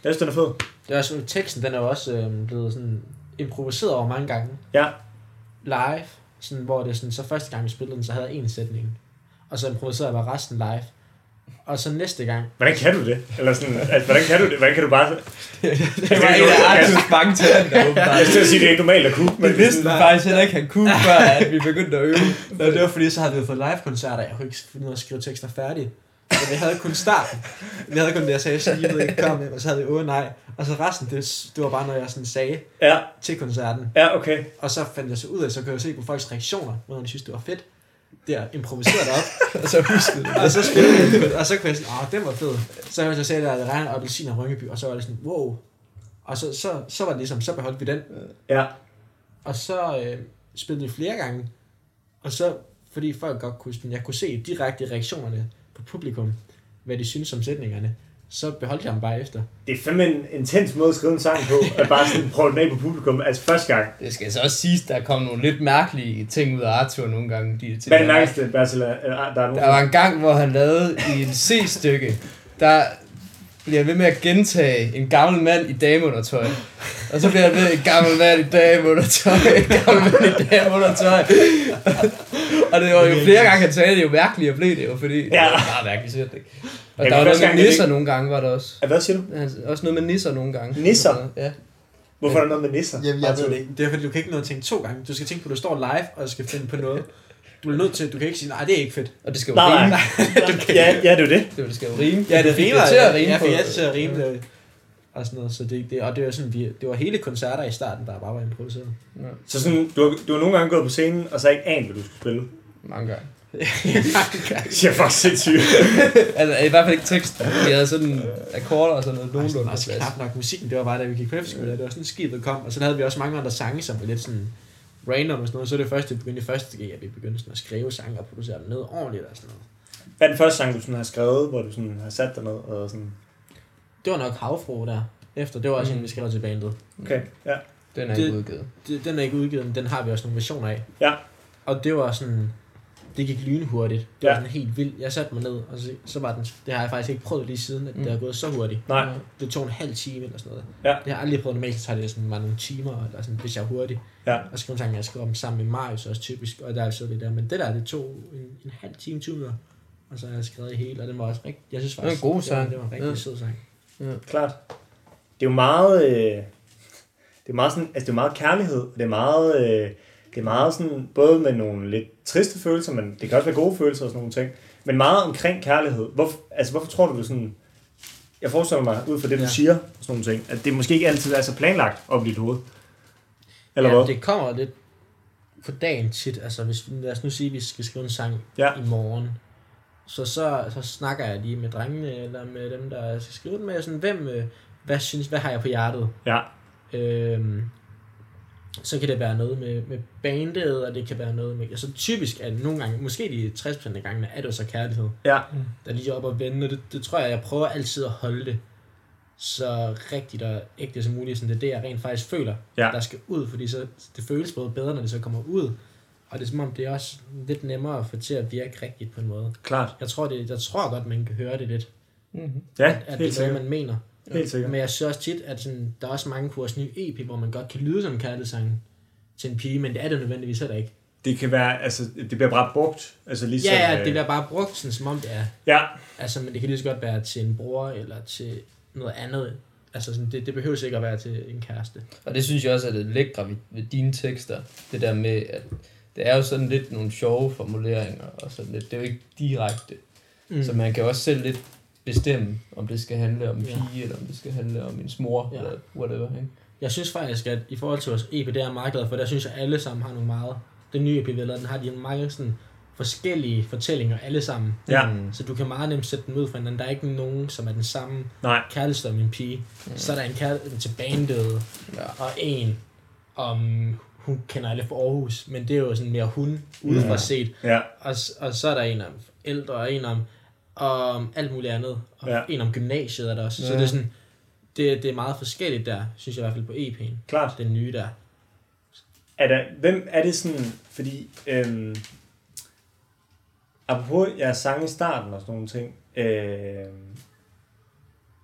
Speaker 2: synes, den er fed.
Speaker 3: Det er også, teksten, den er jo også øh, blevet sådan improviseret over mange gange.
Speaker 2: Ja,
Speaker 3: live, sådan, hvor det sådan, så første gang vi spillede den, så havde jeg en sætning. Og så improviserede jeg bare resten live. Og så næste gang,
Speaker 2: Hvordan kan du det? Eller sådan, altså, hvordan kan du det? Hvordan kan du bare...
Speaker 1: Det var en af Arthurs mange
Speaker 2: <laughs>
Speaker 1: talenter,
Speaker 2: Jeg
Speaker 1: åbenbart.
Speaker 2: skal sige, det er ikke normalt at kunne, men
Speaker 1: Det vidste vi faktisk heller ikke, han kunne, før at vi begyndte at øve.
Speaker 3: Nå, det var fordi, så havde vi jo fået live-koncerter. Jeg kunne ikke finde ud af at skrive tekster færdige. Men jeg havde kun starten. Jeg havde kun det, jeg sagde, så jeg ikke kom, og så havde jeg åh nej. Og så resten, det, det var bare noget, jeg sådan sagde
Speaker 2: Ja,
Speaker 3: til koncerten.
Speaker 2: ja, okay.
Speaker 3: Og så fandt jeg så ud af, så kunne jeg se på folks reaktioner, hvornår de synes, det var fedt. Der improviseret op,
Speaker 1: Og så huskede vi det.
Speaker 3: og så spillede jeg, og så kunne jeg sådan, åh, den var fed. Så jeg så sagde, der det regner appelsin og Rynkeby, og så var det sådan, wow. Og så, så, så var det ligesom, så beholdt vi den.
Speaker 2: Ja,
Speaker 3: Og så øh, spillede vi flere gange. Og så, fordi folk godt kunne, sådan, jeg kunne se direkte i reaktionerne på publikum, hvad de synes om sætningerne, så beholdt jeg dem bare efter.
Speaker 2: det er fandme en intens måde at skrive en sang på, at bare sådan prøve den af på publikum, altså første gang.
Speaker 1: Det skal så også siges, der kom nogle lidt mærkelige ting ud af Arthur nogle gange. De
Speaker 2: Hvad er det mærkeligste, Basil, er- er- der er nogen?
Speaker 1: Der var en gang, hvor han lavede i en C-stykke, der bliver ved med at gentage en gammel mand i dameundertøj. Og så bliver han ved, en gammel mand i dameundertøj, en gammel mand i dameundertøj. og det var jo flere gange, han sagde det jo mærkeligt, og blev det jo, fordi det
Speaker 2: Ja.
Speaker 1: var bare mærkeligt sæt, ikke? Og der var
Speaker 2: Ja, men
Speaker 1: noget
Speaker 2: første
Speaker 1: med
Speaker 2: gang, det
Speaker 1: nisser
Speaker 2: ikke-
Speaker 1: nogle gange, var der også.
Speaker 2: Ja, Hvad siger du?
Speaker 1: Han- Også noget med nisser nogle gange.
Speaker 2: Nisser?
Speaker 1: Ja.
Speaker 2: Hvorfor er der noget med nisser?
Speaker 3: ikke. Det er fordi, du kan ikke nå at tænke to gange. Du skal tænke på, at du står live, og skal finde på noget. Du bliver nødt til, du kan ikke sige, nej, det er ikke fedt.
Speaker 1: Og det skal jo
Speaker 2: Nej,
Speaker 1: rime.
Speaker 2: nej. <laughs> Ja, ja, det er jo det.
Speaker 1: Det skal jo rime.
Speaker 3: Ja, det
Speaker 1: Fik
Speaker 3: rimer.
Speaker 1: til at rime
Speaker 3: jeg
Speaker 1: på.
Speaker 3: fik det til at rime det. Og sådan noget, så det, det, og det var sådan, vi, det var hele koncerter i starten, der bare var
Speaker 1: <laughs>
Speaker 3: improviseret. <laughs>
Speaker 1: Ja,
Speaker 2: Så sådan, du har, du har nogle gange gået på scenen, og så har ikke anet, hvad du skulle <laughs> spille.
Speaker 1: mange gange.
Speaker 2: Det er faktisk sindssygt.
Speaker 1: Altså, i hvert fald ikke tekst. Vi havde sådan akkorder og sådan noget
Speaker 3: Det
Speaker 1: nogenlunde
Speaker 3: var
Speaker 1: på
Speaker 3: også
Speaker 1: plads.
Speaker 3: knap nok musikken, det var bare da vi gik på efterskole, det var sådan skibet kom, og så havde vi også mange andre sange, som var lidt sådan random og sådan noget, så det første, vi begyndte i første G, at vi begyndte sådan at skrive sange og producere dem ned ordentligt og sådan noget.
Speaker 2: Hvad er den første sang, du sådan har skrevet, hvor du sådan har sat dig ned? Og sådan?
Speaker 3: Det var nok Havfru der, efter, det var også
Speaker 1: Mm.
Speaker 3: mm. en, vi skrev til bandet.
Speaker 2: Okay, ja.
Speaker 1: Den er ikke
Speaker 3: Det-
Speaker 1: udgivet.
Speaker 3: Det, den er ikke udgivet, men den har vi også nogle versioner af.
Speaker 2: Ja.
Speaker 3: Og det var sådan, det gik lynhurtigt, det
Speaker 2: Ja.
Speaker 3: var sådan helt vildt, jeg satte mig ned, og så, så var den, det har jeg faktisk ikke prøvet lige siden, at
Speaker 1: Mm.
Speaker 3: det har gået så hurtigt.
Speaker 2: Nej.
Speaker 3: det tog en halv time eller sådan noget.
Speaker 2: Ja.
Speaker 3: Det har jeg aldrig prøvet normalt, så tager det sådan bare nogle timer, eller sådan, hvis jeg er hurtig.
Speaker 2: Ja.
Speaker 3: Og skrive en sang, jeg skriver dem sammen med Marius også typisk, og der er så det der. Men det der, det tog en, en halv time, 20 minutter, og så har jeg skrevet det hele, og den var også rigtig, jeg synes
Speaker 1: var en
Speaker 3: faktisk,
Speaker 1: god
Speaker 3: det var,
Speaker 1: sang.
Speaker 3: det var en rigtig
Speaker 1: Ja.
Speaker 3: sød sang.
Speaker 2: Klart. Det er jo meget... Øh, det er meget sådan, altså det er meget kærlighed, og det er meget, øh, det er meget sådan, både med nogle lidt triste følelser, men det kan også være gode følelser og sådan nogle ting, men meget omkring kærlighed. Hvorfor, altså hvorfor tror du, du sådan, jeg forestiller mig ud fra det, du
Speaker 3: Ja.
Speaker 2: siger, og sådan nogle ting, at det måske ikke altid er så planlagt op i dit hoved. Eller
Speaker 3: ja,
Speaker 2: hvad?
Speaker 3: det kommer lidt på dagen tit. Altså, hvis, lad os nu sige, at vi skal skrive en sang
Speaker 2: Ja.
Speaker 3: i morgen. Så, så, så snakker jeg lige med drengene, eller med dem, der skal skrive den med, sådan, hvem, øh, hvad synes, hvad har jeg på hjertet?
Speaker 2: Ja.
Speaker 3: Øhm, så kan det være noget med, med bandet, og det kan være noget med... Altså typisk er det nogle gange, måske de 60% af gangene, er det jo så kærlighed,
Speaker 2: Ja.
Speaker 3: der lige er oppe og vende, og det, det tror jeg, jeg prøver altid at holde det så rigtigt og ægte som muligt, sådan det er det, jeg rent faktisk føler,
Speaker 2: Ja.
Speaker 3: der skal ud, fordi så, det føles både bedre, når det så kommer ud, og det er som om, det er også lidt nemmere at få til at virke rigtigt på en måde.
Speaker 2: Klart.
Speaker 3: Jeg tror, det, jeg tror godt, man kan høre det lidt,
Speaker 1: Mm-hmm.
Speaker 2: Ja,
Speaker 3: at, at
Speaker 2: helt
Speaker 3: det er noget,
Speaker 2: sikkert.
Speaker 3: man mener.
Speaker 2: Helt sikkert.
Speaker 3: Men jeg synes også tit, at sådan, der er også mange kurs nye EP, hvor man godt kan lyde som en kærlighedssange til en pige, men det er det nødvendigvis heller ikke.
Speaker 2: Det kan være, altså, det bliver bare brugt. Altså ligesom,
Speaker 3: Ja, ja,
Speaker 2: øh,
Speaker 3: det bliver bare brugt, sådan, som om det er.
Speaker 2: Ja,
Speaker 3: Altså, men det kan lige så godt være til en bror eller til noget andet. Altså, sådan, det, det behøver ikke at være til en kæreste.
Speaker 1: Og det synes jeg også er det lækre ved, ved dine tekster. Det der med, at det er jo sådan lidt nogle sjove formuleringer og sådan lidt. Det er jo ikke direkte. Mm. Så man kan jo også selv lidt bestemme, om det skal handle om en
Speaker 3: Ja.
Speaker 1: pige, eller om det skal handle om ens mor,
Speaker 3: Ja.
Speaker 1: ja. eller whatever. Ikke?
Speaker 3: Jeg synes faktisk, at i forhold til vores EP, det er jeg meget glad for, der synes jeg, at alle sammen har nogle meget... Den nye EP, vi har lavet, den har de mange sådan, forskellige fortællinger alle sammen.
Speaker 2: ja,
Speaker 1: Mm.
Speaker 3: Så du kan meget nemt sætte dem ud fra hinanden. Der er ikke nogen, som er den samme
Speaker 2: nej.
Speaker 3: kærlighed om en pige. Mm. Så er der en kærlighed til bandet,
Speaker 1: Ja.
Speaker 3: og en om, hun kender alle fra Aarhus, men det er jo sådan mere hun, udefra
Speaker 2: Ja.
Speaker 3: set.
Speaker 2: Ja,
Speaker 3: Og, s- og så er der en om ældre, og en om, om alt muligt andet, og
Speaker 2: Ja.
Speaker 3: ja. en om gymnasiet er der også. Ja. Så
Speaker 1: Ja.
Speaker 3: det er sådan, det, det er meget forskelligt der, synes jeg i hvert fald på EP'en,
Speaker 2: klart.
Speaker 3: den nye der.
Speaker 2: Er der, hvem er det sådan, fordi... Øhm, apropos jeres sang i starten og sådan nogle ting. Øhm,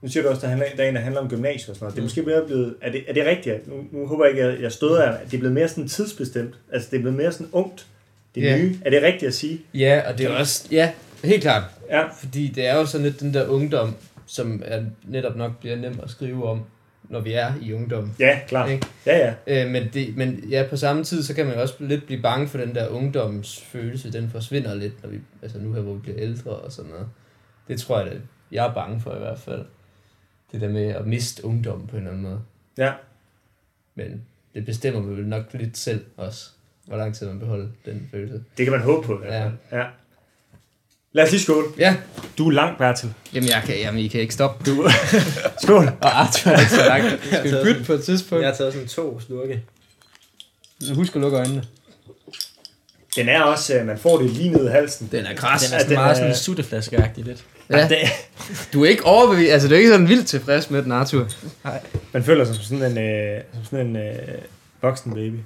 Speaker 2: nu siger du også, der, handler, der er en, der handler om gymnasiet og sådan noget. Det er
Speaker 3: Mm.
Speaker 2: måske mere blevet... Er det, er det rigtigt? at- Nu, nu håber jeg ikke, at jeg støder jer. at Det er blevet mere sådan tidsbestemt. Altså, det er blevet mere sådan ungt. Det
Speaker 1: Ja.
Speaker 2: nye. Er det rigtigt at sige?
Speaker 1: ja, og det er også... Ja, Helt klart.
Speaker 2: Ja.
Speaker 1: Fordi det er jo sådan lidt den der ungdom, som er netop nok bliver nem at skrive om, når vi er i ungdom.
Speaker 2: Ja, klart.
Speaker 1: Ikke?
Speaker 2: Ja, ja.
Speaker 1: Øh, men, det, men ja, på samme tid, så kan man jo også lidt blive bange for den der ungdomsfølelse, den forsvinder lidt, når vi, altså nu her, hvor vi bliver ældre og sådan noget. Det tror jeg, at jeg er bange for i hvert fald. Det der med at miste ungdommen på en eller anden måde.
Speaker 2: Ja.
Speaker 1: Men det bestemmer man vel nok lidt selv også, hvor lang tid man beholder den følelse.
Speaker 2: Det kan man håbe på. i hvert fald. ja. Lad os lige skåle.
Speaker 1: Ja,
Speaker 2: Du er langt, Bertil.
Speaker 1: jamen, jeg kan, jamen I kan ikke stoppe. Du
Speaker 2: Skål.
Speaker 1: <laughs> og Arthur er ikke så <laughs> langt. Skal vi bytte på et tidspunkt?
Speaker 3: Jeg har taget sådan to slurke.
Speaker 1: Husk at lukke øjnene.
Speaker 2: Den er også, øh, man får det lige ned i halsen.
Speaker 1: Den er kras.
Speaker 3: Den er
Speaker 2: Ja, den
Speaker 3: sådan meget
Speaker 2: er- øh,
Speaker 3: sådan sutteflaskeagtig lidt.
Speaker 1: Ja,
Speaker 2: Det,
Speaker 1: du er ikke overbevist. Altså, du er ikke sådan vildt tilfreds med den, Arthur. <laughs>
Speaker 2: man føler sig som sådan en, øh, som sådan en øh, voksen baby.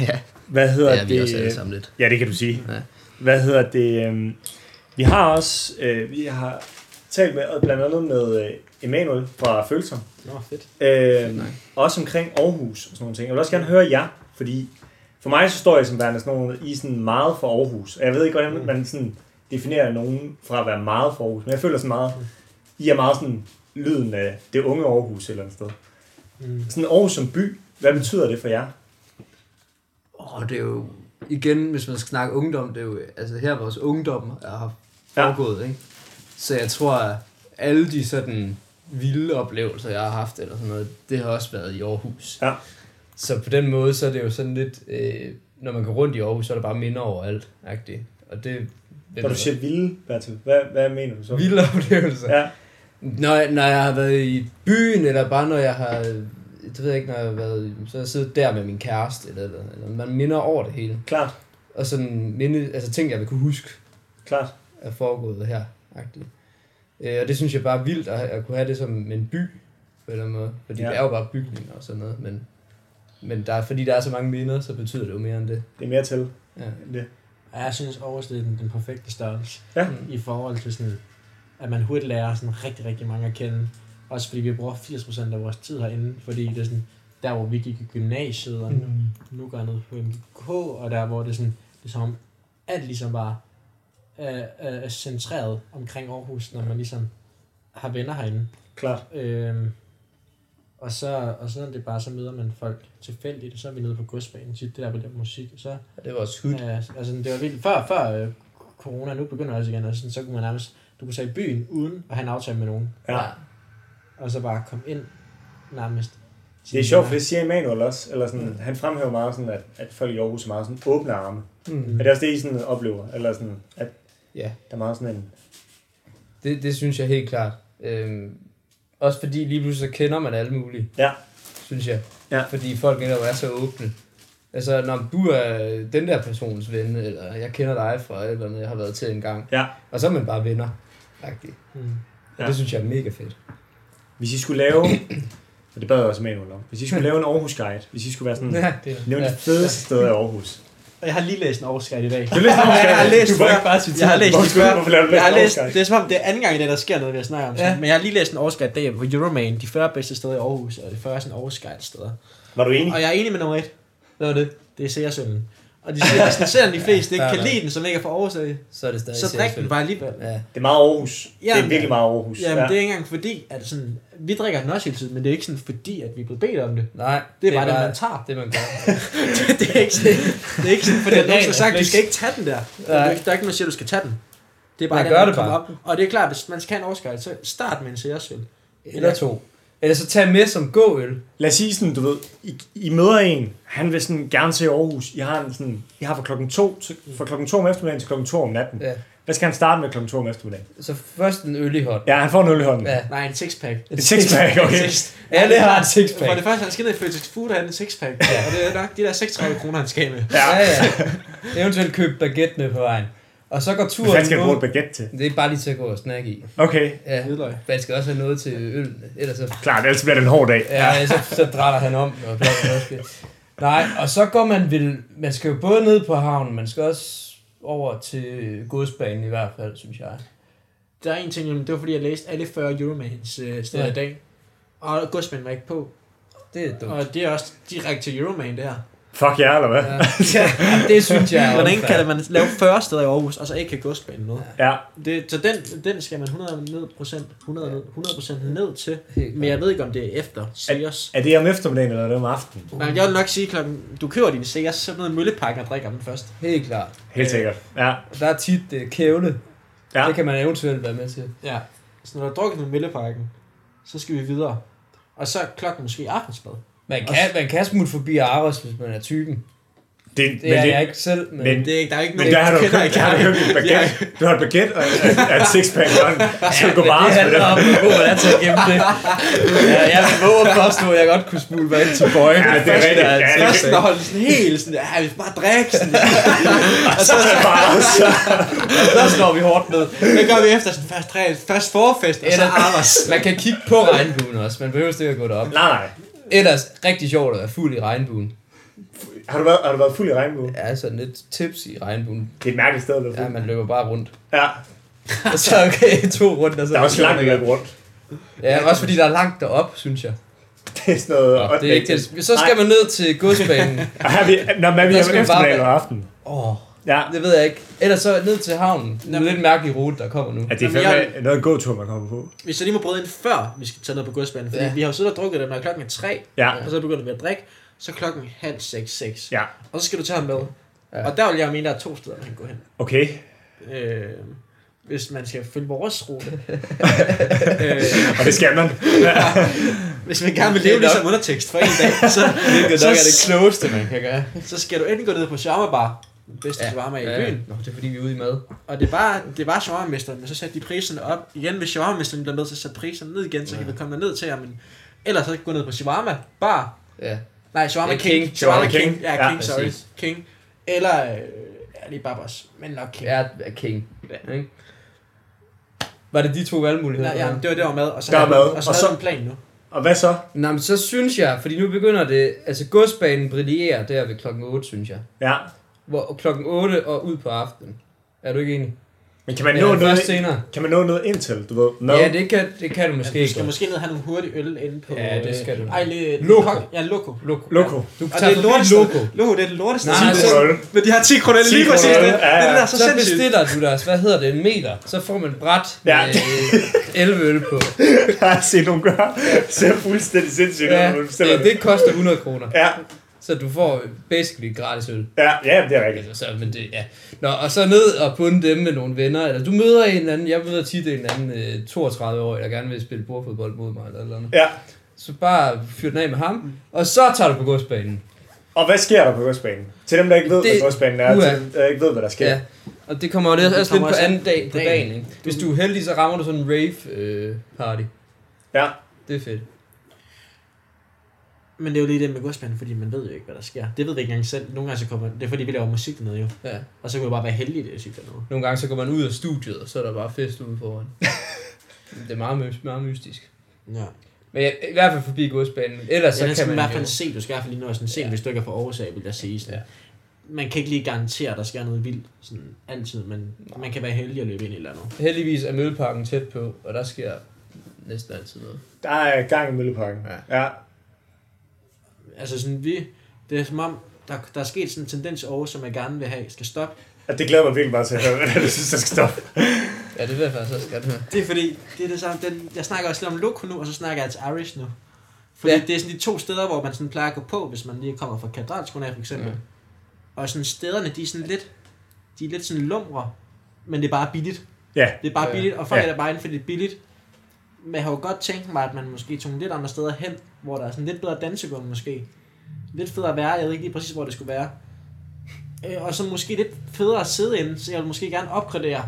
Speaker 1: ja,
Speaker 2: Hvad hedder
Speaker 1: det er vi
Speaker 2: det? øh,
Speaker 1: også alle sammen lidt.
Speaker 2: Ja, det kan du sige.
Speaker 1: Ja.
Speaker 2: Ja. Hvad hedder det? øhm, Vi har også, øh, vi har talt med, og blandt andet med øh, Emanuel fra Følsom,
Speaker 3: Nå, fedt.
Speaker 2: øh,
Speaker 1: nej.
Speaker 2: også omkring Aarhus og sådan nogle ting. Jeg vil også gerne høre jer, fordi for mig så står jeg som værende sådan nogle, I er sådan meget for Aarhus. Og Jeg ved ikke, hvordan man sådan definerer nogen fra at være meget for Aarhus, men jeg føler sådan meget, I er meget sådan lyden af det unge Aarhus et eller andet sted.
Speaker 3: Mm.
Speaker 2: Sådan Aarhus som by, hvad betyder det for jer?
Speaker 1: Åh, det er jo... Igen, hvis man skal snakke ungdom, det er jo... Altså, her vores ungdom er foregået, ja. ikke? Så jeg tror, at alle de sådan vilde oplevelser, jeg har haft, eller sådan noget, det har også været i Aarhus.
Speaker 2: Ja.
Speaker 1: Så på den måde, så er det jo sådan lidt... Øh, når man går rundt i Aarhus, så er der bare minder overalt, agtigt. Og det...
Speaker 2: Når du siger vilde, Bertil, hvad, hvad mener du så?
Speaker 1: vilde oplevelser.
Speaker 2: Ja,
Speaker 1: Når, når jeg har været i byen, eller bare når jeg har... Det ved jeg ikke, når jeg har været... i- Så har jeg siddet der med min kæreste, eller, eller, eller man minder over det hele.
Speaker 2: klart,
Speaker 1: Og sådan minde, altså ting, jeg vil kunne huske,
Speaker 2: klart.
Speaker 1: er foregået her. -agtigt. Øh, og det synes jeg bare er vildt, at, at kunne have det som en by, på en eller anden måde. Fordi
Speaker 2: Ja.
Speaker 1: ja. det er jo bare bygninger og sådan noget, men, men der, fordi der er så mange minder, så betyder det jo mere end det.
Speaker 2: Det er mere til
Speaker 1: Ja.
Speaker 2: end det.
Speaker 3: Ja, jeg synes Aarhus det er den, den perfekte størrelse.
Speaker 2: Ja.
Speaker 3: I forhold til sådan, at man hurtigt lærer sådan rigtig, rigtig mange at kende. Også fordi vi bruger 80% af vores tid herinde, fordi det er sådan, der hvor vi gik i gymnasiet, og
Speaker 1: Mm.
Speaker 3: nu, nu går jeg ned på MGK, og der hvor det er sådan, det er som om, alt ligesom bare øh, øh, er centreret omkring Aarhus, når man ligesom har venner herinde.
Speaker 2: Klart.
Speaker 3: Øhm, og, så, og så er det bare, så møder man folk tilfældigt, og så er vi nede på godsbanen tit, det der, hvor der er musik, og så
Speaker 1: Og det var også hyggeligt.
Speaker 3: Ja, altså det var vildt. Før, før øh, corona, nu begynder det også igen, altså, så kunne man nærmest, du kunne tage i byen uden at have en aftale med nogen,
Speaker 2: Ja.
Speaker 3: og så bare komme ind nærmest.
Speaker 2: Det er sjovt, for det siger Emanuel også. Eller sådan, mm. Han fremhæver meget, sådan, at, at folk i Aarhus er meget sådan åbne arme.
Speaker 1: Mm.
Speaker 2: Er det også det, I sådan oplever? Eller sådan, at
Speaker 1: Ja.
Speaker 2: der er meget sådan en...
Speaker 1: Det, det synes jeg helt klart. Øhm, også fordi lige pludselig så kender man alle mulige.
Speaker 2: Ja.
Speaker 1: Synes jeg.
Speaker 2: Ja.
Speaker 1: Fordi folk netop er så åbne. Altså, når du er den der persons ven, eller jeg kender dig fra et eller andet, jeg har været til en gang.
Speaker 2: Ja.
Speaker 1: Og så er man bare venner. Faktisk.
Speaker 3: Mm.
Speaker 1: Og
Speaker 2: Ja.
Speaker 1: ja. det synes jeg er mega fedt.
Speaker 2: Hvis I skulle lave... Og det bad jeg også Emanuel om. Hvis I skulle lave en Aarhus Guide, hvis I skulle være
Speaker 1: <laughs>
Speaker 2: sådan...
Speaker 1: Ja.
Speaker 3: Det er,
Speaker 2: Mm. Nævn det fedeste sted i
Speaker 3: <laughs>
Speaker 2: Aarhus.
Speaker 3: og jeg har lige læst en overskridt i dag. <laughs>
Speaker 2: Du læste Aarhus Guide.
Speaker 3: Jeg har læst
Speaker 2: du var
Speaker 3: før.
Speaker 2: ikke bare citere.
Speaker 3: Jeg har læst
Speaker 2: Hvorfor
Speaker 3: før.
Speaker 2: skulle du hvorfor lave
Speaker 3: Jeg har læst,
Speaker 2: Guide?
Speaker 3: det er som om, det er anden gang i dag, der sker noget, vi har snakket om. Ja.
Speaker 1: Ja.
Speaker 3: Men jeg har lige læst en overskridt i dag på Euroman, de 40 bedste steder i Aarhus, og de 40 sådan overskridt steder.
Speaker 2: Var du enig?
Speaker 3: Og jeg er enig med nummer et. Hvad var det? Det er Seersønnen. Og de siger, sådan, selvom de fleste ikke
Speaker 1: Ja,
Speaker 3: kan
Speaker 1: ja.
Speaker 3: lide den, som ikke er for Aarhus, af,
Speaker 1: Så er det stadig
Speaker 3: så drik den bare alligevel.
Speaker 1: Ja.
Speaker 2: Det er meget Aarhus. det er
Speaker 3: Jamen,
Speaker 2: virkelig meget Aarhus.
Speaker 3: Jamen, ja. det er ikke engang fordi, at sådan, vi drikker den også hele tiden, men det er ikke sådan fordi, at vi er blevet bedt om det.
Speaker 1: Nej,
Speaker 3: Det er bare det, man tager.
Speaker 1: det, man gør.
Speaker 3: <laughs> det, er ikke sådan, det er ikke sådan, <laughs> fordi at nogen
Speaker 1: Ren
Speaker 3: har sagt, du
Speaker 1: refleks.
Speaker 3: skal ikke tage den der. Der er,
Speaker 1: Nej.
Speaker 3: ikke- der er ikke nogen, der siger, du skal tage den. Det er bare
Speaker 1: Man
Speaker 3: den,
Speaker 1: gør
Speaker 3: man
Speaker 1: det
Speaker 3: kommer
Speaker 1: bare.
Speaker 3: Op. Og det er klart, hvis man skal have en overskrift, så start med en særsøl.
Speaker 1: Eller to. Eller så tag med som gåøl.
Speaker 2: Lad os sige sådan, du ved, I, I møder en, han vil sådan gerne se Aarhus. I har, en sådan, I har fra klokken 2, til, fra klokken 2 om eftermiddagen til klokken 2 om natten.
Speaker 1: Ja.
Speaker 2: Hvad skal han starte med klokken 2 om eftermiddagen?
Speaker 1: Så først en øl i hånd.
Speaker 2: Ja, han får en øl i hånden.
Speaker 1: Ja.
Speaker 2: Ja.
Speaker 3: Nej, en sixpack.
Speaker 2: Et sixpack, okay.
Speaker 1: Alle har et sixpack.
Speaker 3: For det første, han skal ned i Føtex Food, og han har en sixpack. Og det er nok de der 36 kroner, han skal af med.
Speaker 1: Ja,
Speaker 2: Ja.
Speaker 1: ja. Eventuelt køb baguette med på vejen. Og så går
Speaker 2: Hvad fanden
Speaker 1: turen
Speaker 2: skal han bruge et
Speaker 1: ud.
Speaker 2: baguette til?
Speaker 1: Det er bare lige til at gå og snakke i.
Speaker 2: Okay,
Speaker 1: Ja.
Speaker 3: Hvidløg.
Speaker 1: Man skal også have noget til øl, ellers så,
Speaker 2: klart, ellers bliver det en hård dag.
Speaker 1: ja, så, så drætter han om. Og bla, bla, bla. Nej, og så går man vil, man skal jo både ned på havnen, man skal også over til godsbanen i hvert fald, synes jeg.
Speaker 3: Der er en ting, jamen, det var fordi, jeg læste alle 40 Euromans øh, steder
Speaker 1: Ja.
Speaker 3: i dag. Og godsmanden var ikke på.
Speaker 1: Det er dumt.
Speaker 3: Og det er også direkte til Euroman, det her.
Speaker 2: Fuck jer, eller hvad?
Speaker 1: Ja. ja, det synes jeg er
Speaker 3: Hvordan
Speaker 1: unfair.
Speaker 3: kan man lave 40 steder i Aarhus, og så ikke have godsbanen med?
Speaker 2: Ja.
Speaker 3: Det, så den, den skal man 100 ned, procent, 100, ned, 100 ned til.
Speaker 1: Helt
Speaker 3: Men jeg ved ikke, om det er efter Sears.
Speaker 2: Er det om eftermiddagen, eller er det om aftenen?
Speaker 3: Men jeg vil nok sige, klokken, du køber din Sears, så ned i møllepakken og drikker den først.
Speaker 1: Helt klart.
Speaker 2: Helt sikkert. Ja.
Speaker 1: Og Der er tit øh, kævle.
Speaker 2: Ja.
Speaker 1: Ja. Det kan man eventuelt være med til.
Speaker 3: Ja. Så når du har drukket den i møllepakken, så skal vi videre. Og så er klokken måske aftensmad.
Speaker 1: Man kan, man kan smutte forbi Aros, hvis man er typen.
Speaker 2: Det,
Speaker 1: Det er jeg ikke selv, men,
Speaker 2: men-
Speaker 1: men
Speaker 3: Det er ikke, der er ikke
Speaker 2: Men
Speaker 3: nogen,
Speaker 2: der har du
Speaker 3: du kender
Speaker 2: købt,
Speaker 3: ikke
Speaker 2: der har du købt en baguette. Du har et baguette og et, og et sixpack og en
Speaker 1: det
Speaker 2: chokolade.
Speaker 1: handler om, hvor god man er til at gemme det. Ja, jeg vil våge at påstå, at jeg godt kunne smule mig ind til bøjen.
Speaker 2: Ja, det er
Speaker 1: Først,
Speaker 2: rigtigt.
Speaker 1: der
Speaker 2: Ja, det er
Speaker 3: Først når holde sådan helt sådan, ja, vi skal bare drikke <laughs> sådan.
Speaker 2: Så er det bare så.
Speaker 1: der slår vi hårdt ned.
Speaker 3: Hvad gør vi efter sådan først, træ, først forfest, og så
Speaker 1: Eller-
Speaker 3: arbejds?
Speaker 1: Man kan kigge på regnbuen også. Man behøver ikke at gå derop.
Speaker 2: Nej, nej.
Speaker 1: Ellers rigtig sjovt at være fuld i regnbuen.
Speaker 2: Har du været, har du været fuld i regnbue?
Speaker 1: Ja, sådan lidt tips i regnbuen.
Speaker 2: Det er et mærkeligt sted at være
Speaker 1: Ja,
Speaker 2: fuld.
Speaker 1: man løber bare rundt.
Speaker 2: Ja.
Speaker 1: Og så okay, to rundt. Og så
Speaker 2: Der er også langt at løbe rundt. <laughs>
Speaker 1: Ja, også fordi der er langt derop, synes jeg.
Speaker 2: Det er sådan noget...
Speaker 1: Nå, det er ikke det. Så skal man ned til godsbanen.
Speaker 2: Og her er vi, når man er vi
Speaker 1: Der
Speaker 2: om
Speaker 1: skal man bare
Speaker 2: eftermiddagen
Speaker 1: være-
Speaker 2: og aften.
Speaker 1: Åh, oh,
Speaker 2: Ja.
Speaker 1: det ved jeg ikke. Ellers så ned til havnen. Det er
Speaker 3: Jamen.
Speaker 1: lidt en mærkelig rute, der kommer nu.
Speaker 2: Ja, det er
Speaker 3: Jamen,
Speaker 2: fandme noget gåtur, man kommer på.
Speaker 3: Hvis jeg lige må bryde ind før, vi skal tage ned på godsbanen, fordi
Speaker 1: Ja.
Speaker 3: vi har jo siddet og drukket den, når klokken er tre,
Speaker 2: Ja.
Speaker 3: og så begynder vi at drikke, så er klokken halv seks, seks.
Speaker 2: Ja.
Speaker 3: Og så skal du tage ham med.
Speaker 1: Ja.
Speaker 3: Ja. Og der vil jeg mene, der er to steder, man kan gå hen.
Speaker 2: Okay.
Speaker 3: Øh, hvis man skal følge vores <laughs> rute. Øh,
Speaker 2: Og det skal man.
Speaker 3: Hvis man gerne vil
Speaker 1: Det er
Speaker 3: leve
Speaker 1: nok.
Speaker 3: ligesom undertekst for en dag, så,
Speaker 1: Hvilket
Speaker 3: så,
Speaker 1: nok er det klogeste, man kan gøre.
Speaker 3: så skal du enten gå ned på shawarma bar, den bedste ja. shawarma i byen,
Speaker 1: Nå, det er fordi, vi er ude i mad.
Speaker 3: Og det var, det var shawarmesteren, men så satte de priserne op. Igen, hvis shawarmesteren bliver med, så satte priserne ned igen, så kan vi komme ned til jer. Men ellers så gå ned på shawarma bar.
Speaker 1: Ja.
Speaker 3: Nej, shawarma
Speaker 1: Ja,
Speaker 3: king.
Speaker 1: King.
Speaker 3: Shawarma
Speaker 2: Shawarma
Speaker 3: king.
Speaker 2: King.
Speaker 3: Ja,
Speaker 2: Ja,
Speaker 3: king, sorry.
Speaker 1: præcis.
Speaker 3: King. Eller, øh, ja, lige bare boss. Men nok king.
Speaker 1: Jeg er king.
Speaker 3: Ja.
Speaker 1: Ikke? Var det de to valgmuligheder?
Speaker 3: Nej, ja, det var det var mad, og så
Speaker 2: Der
Speaker 3: havde
Speaker 2: var
Speaker 3: du-
Speaker 2: mad,
Speaker 3: og så,
Speaker 2: og
Speaker 3: og
Speaker 2: så-
Speaker 3: så en plan nu.
Speaker 2: Og hvad så?
Speaker 1: Nå, men så synes jeg, fordi nu begynder det... Altså, godsbanen brillerer der ved klokken 8, synes jeg.
Speaker 2: Ja.
Speaker 1: Hvor klokken 8 og ud på aftenen. Er du ikke enig?
Speaker 2: Men kan man,
Speaker 1: Ja,
Speaker 2: nå noget,
Speaker 1: først senere.
Speaker 2: kan man nå noget indtil, du ved? Mad?
Speaker 1: Ja, det kan, det kan du måske
Speaker 3: Måske du
Speaker 1: ikke.
Speaker 3: skal måske ned og have nogle hurtige øl inde på...
Speaker 1: Ja, det skal du.
Speaker 3: øh, Ej, lidt...
Speaker 1: Loco.
Speaker 3: Ja, loco.
Speaker 1: Loko.
Speaker 2: Loco.
Speaker 1: Du
Speaker 3: Og det
Speaker 1: tager
Speaker 3: er et
Speaker 1: forbi
Speaker 3: lortested.
Speaker 1: Loko.
Speaker 3: Loco, det er det lorteste.
Speaker 1: Nej,
Speaker 3: Nej,
Speaker 1: så-
Speaker 3: Men de har 10 kroner, det er
Speaker 2: 10
Speaker 3: lige præcis
Speaker 2: kroner,
Speaker 3: det.
Speaker 2: ja,
Speaker 3: Det er det, der er
Speaker 1: Så,
Speaker 3: så,
Speaker 1: så
Speaker 3: sindssygt.
Speaker 1: bestiller du deres, hvad hedder det, en meter. Så får man et bræt
Speaker 2: Ja.
Speaker 1: med
Speaker 2: <laughs>
Speaker 1: øh, 11 øl på.
Speaker 2: Jeg <laughs> har set nogle gøre. Ser fuldstændig sindssygt ud,
Speaker 1: Ja,
Speaker 2: når man bestiller
Speaker 1: det, det koster 100 kroner.
Speaker 2: Ja,
Speaker 1: Så du får basically gratis øl.
Speaker 2: ja, ja, det er rigtigt.
Speaker 1: Altså, så, men det, ja. Nå, og så ned og bunde dem med nogle venner. Eller du møder en eller anden, jeg møder tit en eller anden øh, 32 år, der gerne vil spille bordfodbold mod mig eller et eller andet.
Speaker 2: Ja.
Speaker 1: Så bare fyr den af med
Speaker 3: Mm.
Speaker 1: ham, og så tager du på godsbanen.
Speaker 2: Og hvad sker der på godsbanen? Til dem, der ikke ved,
Speaker 1: Det-
Speaker 2: hvad godsbanen er,
Speaker 1: Uha.
Speaker 2: til dem, der ikke ved, hvad der sker.
Speaker 1: Ja. Og det kommer jo lidt,
Speaker 3: Det
Speaker 1: også
Speaker 3: kommer
Speaker 1: lidt på
Speaker 3: også
Speaker 1: anden dag på
Speaker 3: dagen.
Speaker 1: dagen. Ikke? Hvis du er heldig, så rammer du sådan en rave øh, party.
Speaker 2: Ja.
Speaker 1: Det er fedt.
Speaker 3: Men det er jo lige det med godsbanen, fordi man ved jo ikke, hvad der sker. Det ved vi ikke engang selv. Nogle gange så kommer... Det er fordi, vi laver musik dernede jo.
Speaker 1: Ja.
Speaker 3: Og så kan vi bare være heldige, det er sygt dernede.
Speaker 1: Nogle gange så går man ud af studiet, og så er der bare fest ude
Speaker 3: <laughs>
Speaker 1: foran. det er meget, my- meget mystisk.
Speaker 3: Ja.
Speaker 1: Men jeg, i hvert fald forbi godsbanen. Ellers Altså, så
Speaker 3: Så ja,
Speaker 1: kan
Speaker 3: skal man
Speaker 1: man
Speaker 3: i hvert fald
Speaker 1: jo-
Speaker 3: se, du skal i hvert fald lige nå at sådan se,
Speaker 1: Ja.
Speaker 3: ja. hvis du ikke er fra Aarhus af, vil jeg sige. Sådan.
Speaker 1: Ja.
Speaker 3: Ja. Man kan ikke lige garantere, at der sker noget vildt sådan altid, men man kan være heldig at løbe ind i et eller andet.
Speaker 1: Heldigvis er Mølleparken tæt på, og der sker næsten altid noget.
Speaker 2: Der er gang i Mølleparken.
Speaker 1: Ja.
Speaker 2: ja.
Speaker 3: Altså sådan vi, det er som om, der, der er sket sådan en tendens i Aarhus, som jeg gerne vil have, skal stoppe.
Speaker 2: At det glæder mig virkelig meget til at høre, hvad du synes, der skal stoppe.
Speaker 1: Ja, det vil jeg faktisk også godt høre.
Speaker 3: Det er fordi, det er det samme. Den, jeg snakker også lidt om Loco nu, og så snakker jeg til Irish nu. Fordi
Speaker 1: Ja.
Speaker 3: ja. det er sådan de to steder, hvor man sådan plejer at gå på, hvis man lige kommer fra katedralskolen af, for eksempel.
Speaker 1: Ja.
Speaker 3: Ja. Og sådan stederne, de er sådan lidt, de er lidt sådan lumre, men det er bare billigt.
Speaker 2: Ja.
Speaker 3: Det er bare
Speaker 1: Ja.
Speaker 3: billigt, og folk
Speaker 2: Ja.
Speaker 3: ja. er der bare inde, fordi det er billigt. Men jeg har jo godt tænkt mig, at man måske tog lidt andre steder hen, hvor der er sådan lidt bedre dansegulv måske. Lidt federe at være, jeg ved ikke lige præcis, hvor det skulle være. Øh, og så måske lidt federe at sidde inde, så jeg vil måske gerne opgradere.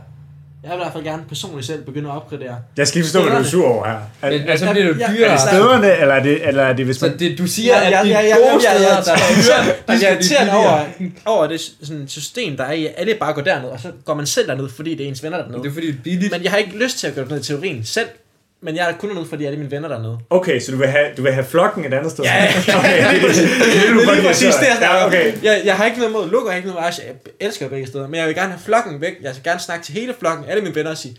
Speaker 3: Jeg vil i hvert fald gerne personligt selv begynde at opgradere.
Speaker 2: Jeg skal ikke forstå, hvad du er sur over her. Er,
Speaker 1: Men
Speaker 2: er,
Speaker 1: altså,
Speaker 2: er,
Speaker 1: så bliver det jo
Speaker 3: ja,
Speaker 1: dyrere.
Speaker 2: det stederne, eller er det, eller er det hvis
Speaker 1: Så
Speaker 2: man...
Speaker 1: det, du siger,
Speaker 3: Ja,
Speaker 1: at
Speaker 3: ja,
Speaker 1: de
Speaker 3: ja, ja,
Speaker 1: gode
Speaker 3: ja, ja,
Speaker 1: steder,
Speaker 3: ja,
Speaker 1: der er dyre, der
Speaker 3: Jeg er
Speaker 1: skal de
Speaker 3: irriteret
Speaker 1: billigere.
Speaker 3: over, over det sådan system, der er i, at alle bare går derned, og så går man selv derned, fordi det er ens venner
Speaker 1: Men Det
Speaker 3: dernede.
Speaker 1: er fordi, det er billigt.
Speaker 3: Men jeg har ikke lyst til at gøre det ned i teorien selv, men jeg er kun dernede, fordi alle mine venner dernede.
Speaker 2: Okay, så du vil have, du vil have flokken et andet sted?
Speaker 3: Ja, ja,
Speaker 2: <laughs>
Speaker 3: ja.
Speaker 2: Okay, det, det, det,
Speaker 3: Det er lige præcis det, jeg
Speaker 2: jeg
Speaker 3: snakker
Speaker 2: ja,
Speaker 3: om.
Speaker 2: okay.
Speaker 3: Jeg, jeg har ikke noget mod Lukker, jeg har ikke noget mod Arsha. Jeg elsker begge steder, men jeg vil gerne have flokken væk. Jeg vil gerne snakke til hele flokken, alle mine venner og sige,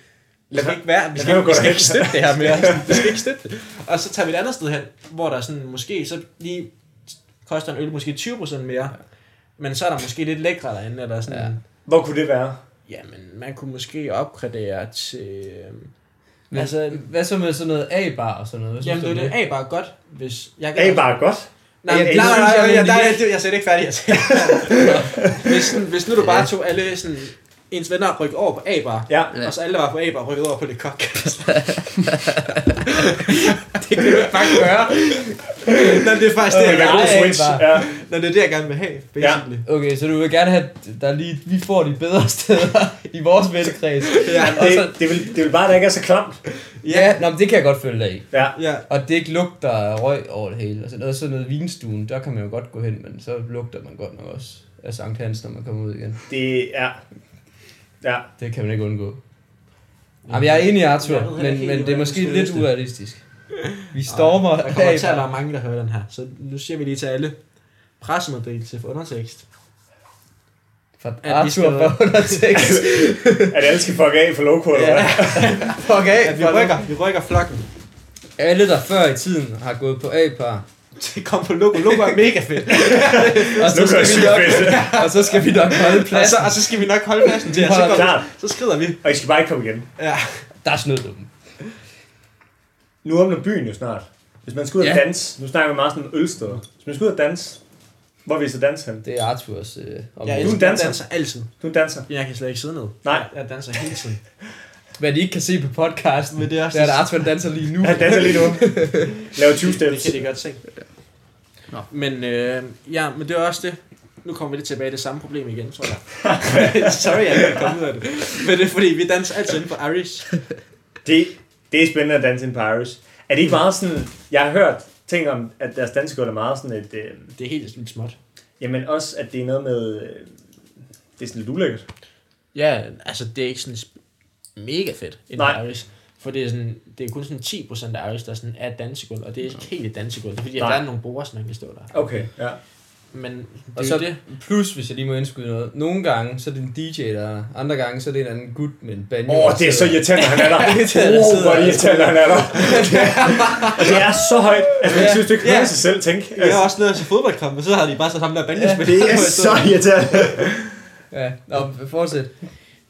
Speaker 3: lad det ikke være, vi
Speaker 2: Lad
Speaker 3: skal,
Speaker 2: mig gå
Speaker 3: vi skal
Speaker 2: derhen."
Speaker 3: ikke støtte det her mere. Vi skal ikke støtte det. Og så tager vi et andet sted hen, hvor der sådan, måske så lige koster en øl måske 20% mere, ja. men så er der måske lidt lækre derinde, eller sådan,
Speaker 1: Ja.
Speaker 3: ja.
Speaker 2: Hvor kunne det være?
Speaker 3: jamen, man kunne måske opgradere til... øhm,
Speaker 1: Men altså, hvad så med sådan noget A-bar og sådan noget? Hvad synes
Speaker 3: Jamen, det
Speaker 1: du
Speaker 3: er
Speaker 1: om
Speaker 3: det. A-bar er godt, hvis... Jeg
Speaker 2: A bare er godt.
Speaker 3: Nej,
Speaker 1: Jeg
Speaker 3: nej, nej,
Speaker 1: synes,
Speaker 3: nej,
Speaker 1: jeg
Speaker 3: nej,
Speaker 1: er
Speaker 3: nej, nej,
Speaker 1: lidt-
Speaker 3: nej, jeg er slet ikke færdig. Jeg er slet- <laughs> hvis, sådan- hvis nu du bare tog alle sådan, ens venner rykkede over på A-bar,
Speaker 2: Ja.
Speaker 1: Ja.
Speaker 3: og så alle, der var på A-bar, rykkede over på Le <laughs> Coq. det kan du ikke bare gøre. Nå, det er faktisk det,
Speaker 1: Nej,
Speaker 2: Det Øh, er
Speaker 3: jeg
Speaker 2: en god
Speaker 3: gerne
Speaker 1: A-bar.
Speaker 2: switch. Ja.
Speaker 3: Nå, det er det, jeg gerne vil have, basically.
Speaker 1: Okay, så du vil gerne have, at der lige, vi får de bedre <laughs> steder i vores vennekreds.
Speaker 3: Ja.
Speaker 1: Og
Speaker 2: Det,
Speaker 1: så,
Speaker 2: det, vil, det vil bare, at det ikke er så klamt.
Speaker 1: ja, nå, men det kan jeg godt følge dig i.
Speaker 2: Ja.
Speaker 3: Ja,
Speaker 1: Og det ikke lugter af røg over det hele. Og sådan noget, sådan noget vinstuen, der kan man jo godt gå hen, men så lugter man godt nok også af Sankt Hans, når man kommer ud igen.
Speaker 2: Det er... Ja.
Speaker 1: Det kan man ikke undgå. Jamen, jeg er enig i Arthur,
Speaker 3: Jeg ved heller ikke
Speaker 1: men,
Speaker 3: helt,
Speaker 1: men det er
Speaker 3: hvordan
Speaker 1: måske
Speaker 3: vi skal
Speaker 1: lidt
Speaker 3: løse det.
Speaker 1: urealistisk. Vi stormer
Speaker 3: Der kommer til at
Speaker 1: af.
Speaker 3: være mange, der hører den her. Så nu siger vi lige til alle pressemeddelelse for undertekst.
Speaker 1: Fra
Speaker 3: at vi skal-
Speaker 1: Arthur for
Speaker 3: <laughs>
Speaker 1: undertekst.
Speaker 2: At alle skal fuck af for loco, eller hvad?
Speaker 1: Fuck af.
Speaker 3: At vi rykker, vi rykker flokken.
Speaker 1: Alle, der før i tiden har gået på A-par,
Speaker 3: Det kom på logo. Logo er mega fedt.
Speaker 1: og så,
Speaker 2: Nu kører jeg
Speaker 1: skal vi
Speaker 2: sygt
Speaker 1: nok, <laughs>
Speaker 2: fedt.
Speaker 1: og så skal vi nok holde
Speaker 3: og, så,
Speaker 1: pladsen.
Speaker 3: og så skal vi nok holde pladsen til, og så,
Speaker 1: Holder
Speaker 3: går,
Speaker 2: Klart.
Speaker 3: så skrider vi.
Speaker 2: Og I skal bare ikke komme igen.
Speaker 3: Ja.
Speaker 1: Der snød du dem.
Speaker 2: Nu åbner byen jo snart. Hvis man skal ud og
Speaker 1: Ja.
Speaker 2: danse, nu snakker vi meget sådan om ølsteder. Hvis man skal ud og danse, hvor vil I så danse hen?
Speaker 1: Det er Arthurs øh,
Speaker 3: Jeg
Speaker 1: område.
Speaker 2: elsker-
Speaker 3: elsker, danser.
Speaker 2: danser.
Speaker 3: danser altid.
Speaker 2: Du danser.
Speaker 3: Jeg kan slet ikke sidde ned.
Speaker 2: Nej.
Speaker 3: Jeg danser hele tiden.
Speaker 1: Hvad de ikke kan se på podcasten,
Speaker 3: Men
Speaker 1: det
Speaker 3: det er
Speaker 1: er,
Speaker 3: også-
Speaker 1: det er at Arthur danser lige nu.
Speaker 2: Han danser lige nu. Laver 20
Speaker 3: Det
Speaker 2: steps.
Speaker 3: kan de godt se. Nå. Men, øh, ja, men det er også det. Nu kommer vi lidt tilbage i det samme problem igen, tror jeg. <laughs> Sorry, jeg ikke kom ud af det. Men det er fordi, vi danser altid inde på Irish.
Speaker 2: Det, det er spændende at danse in Paris. Er det ikke meget sådan... Jeg har hørt ting om, at deres dansegulv er meget sådan et... Øh,
Speaker 3: Det er helt vildt småt.
Speaker 2: jamen også, at det er noget med... Øh, det er sådan lidt ulækkert.
Speaker 3: Ja, altså det er ikke sådan sp- mega fedt en
Speaker 2: Nej.
Speaker 3: Irish. For det er, sådan, det er kun sådan 10% af Irish, der sådan er et dansegulv, og det er ikke helt et dansegulv. Det er fordi, at
Speaker 2: Nej.
Speaker 3: der er nogle borer, som ikke kan stå der.
Speaker 2: Okay, ja.
Speaker 3: Men det er
Speaker 1: Og
Speaker 3: jo
Speaker 1: så
Speaker 3: det.
Speaker 1: plus, hvis jeg lige må indskyde noget. Nogle gange, så er det en DJ, der er der. Andre gange, så er det en anden gut med en banjo.
Speaker 2: Åh, oh,
Speaker 1: der
Speaker 2: det er så
Speaker 1: sidder-
Speaker 2: irriterende, han er der. Åh,
Speaker 1: Irriterende,
Speaker 2: oh,
Speaker 1: sidder
Speaker 2: hvor
Speaker 1: der.
Speaker 2: irriterende, han er der. <laughs> Og det er så højt, at man synes, det kan høre
Speaker 3: Ja.
Speaker 2: sig selv tænke.
Speaker 3: Jeg har også nede til fodboldkamp, og så har de bare sat ham der banjespiller.
Speaker 2: Det
Speaker 3: <laughs>
Speaker 2: er så irriterende.
Speaker 1: Ja, nå, fortsæt.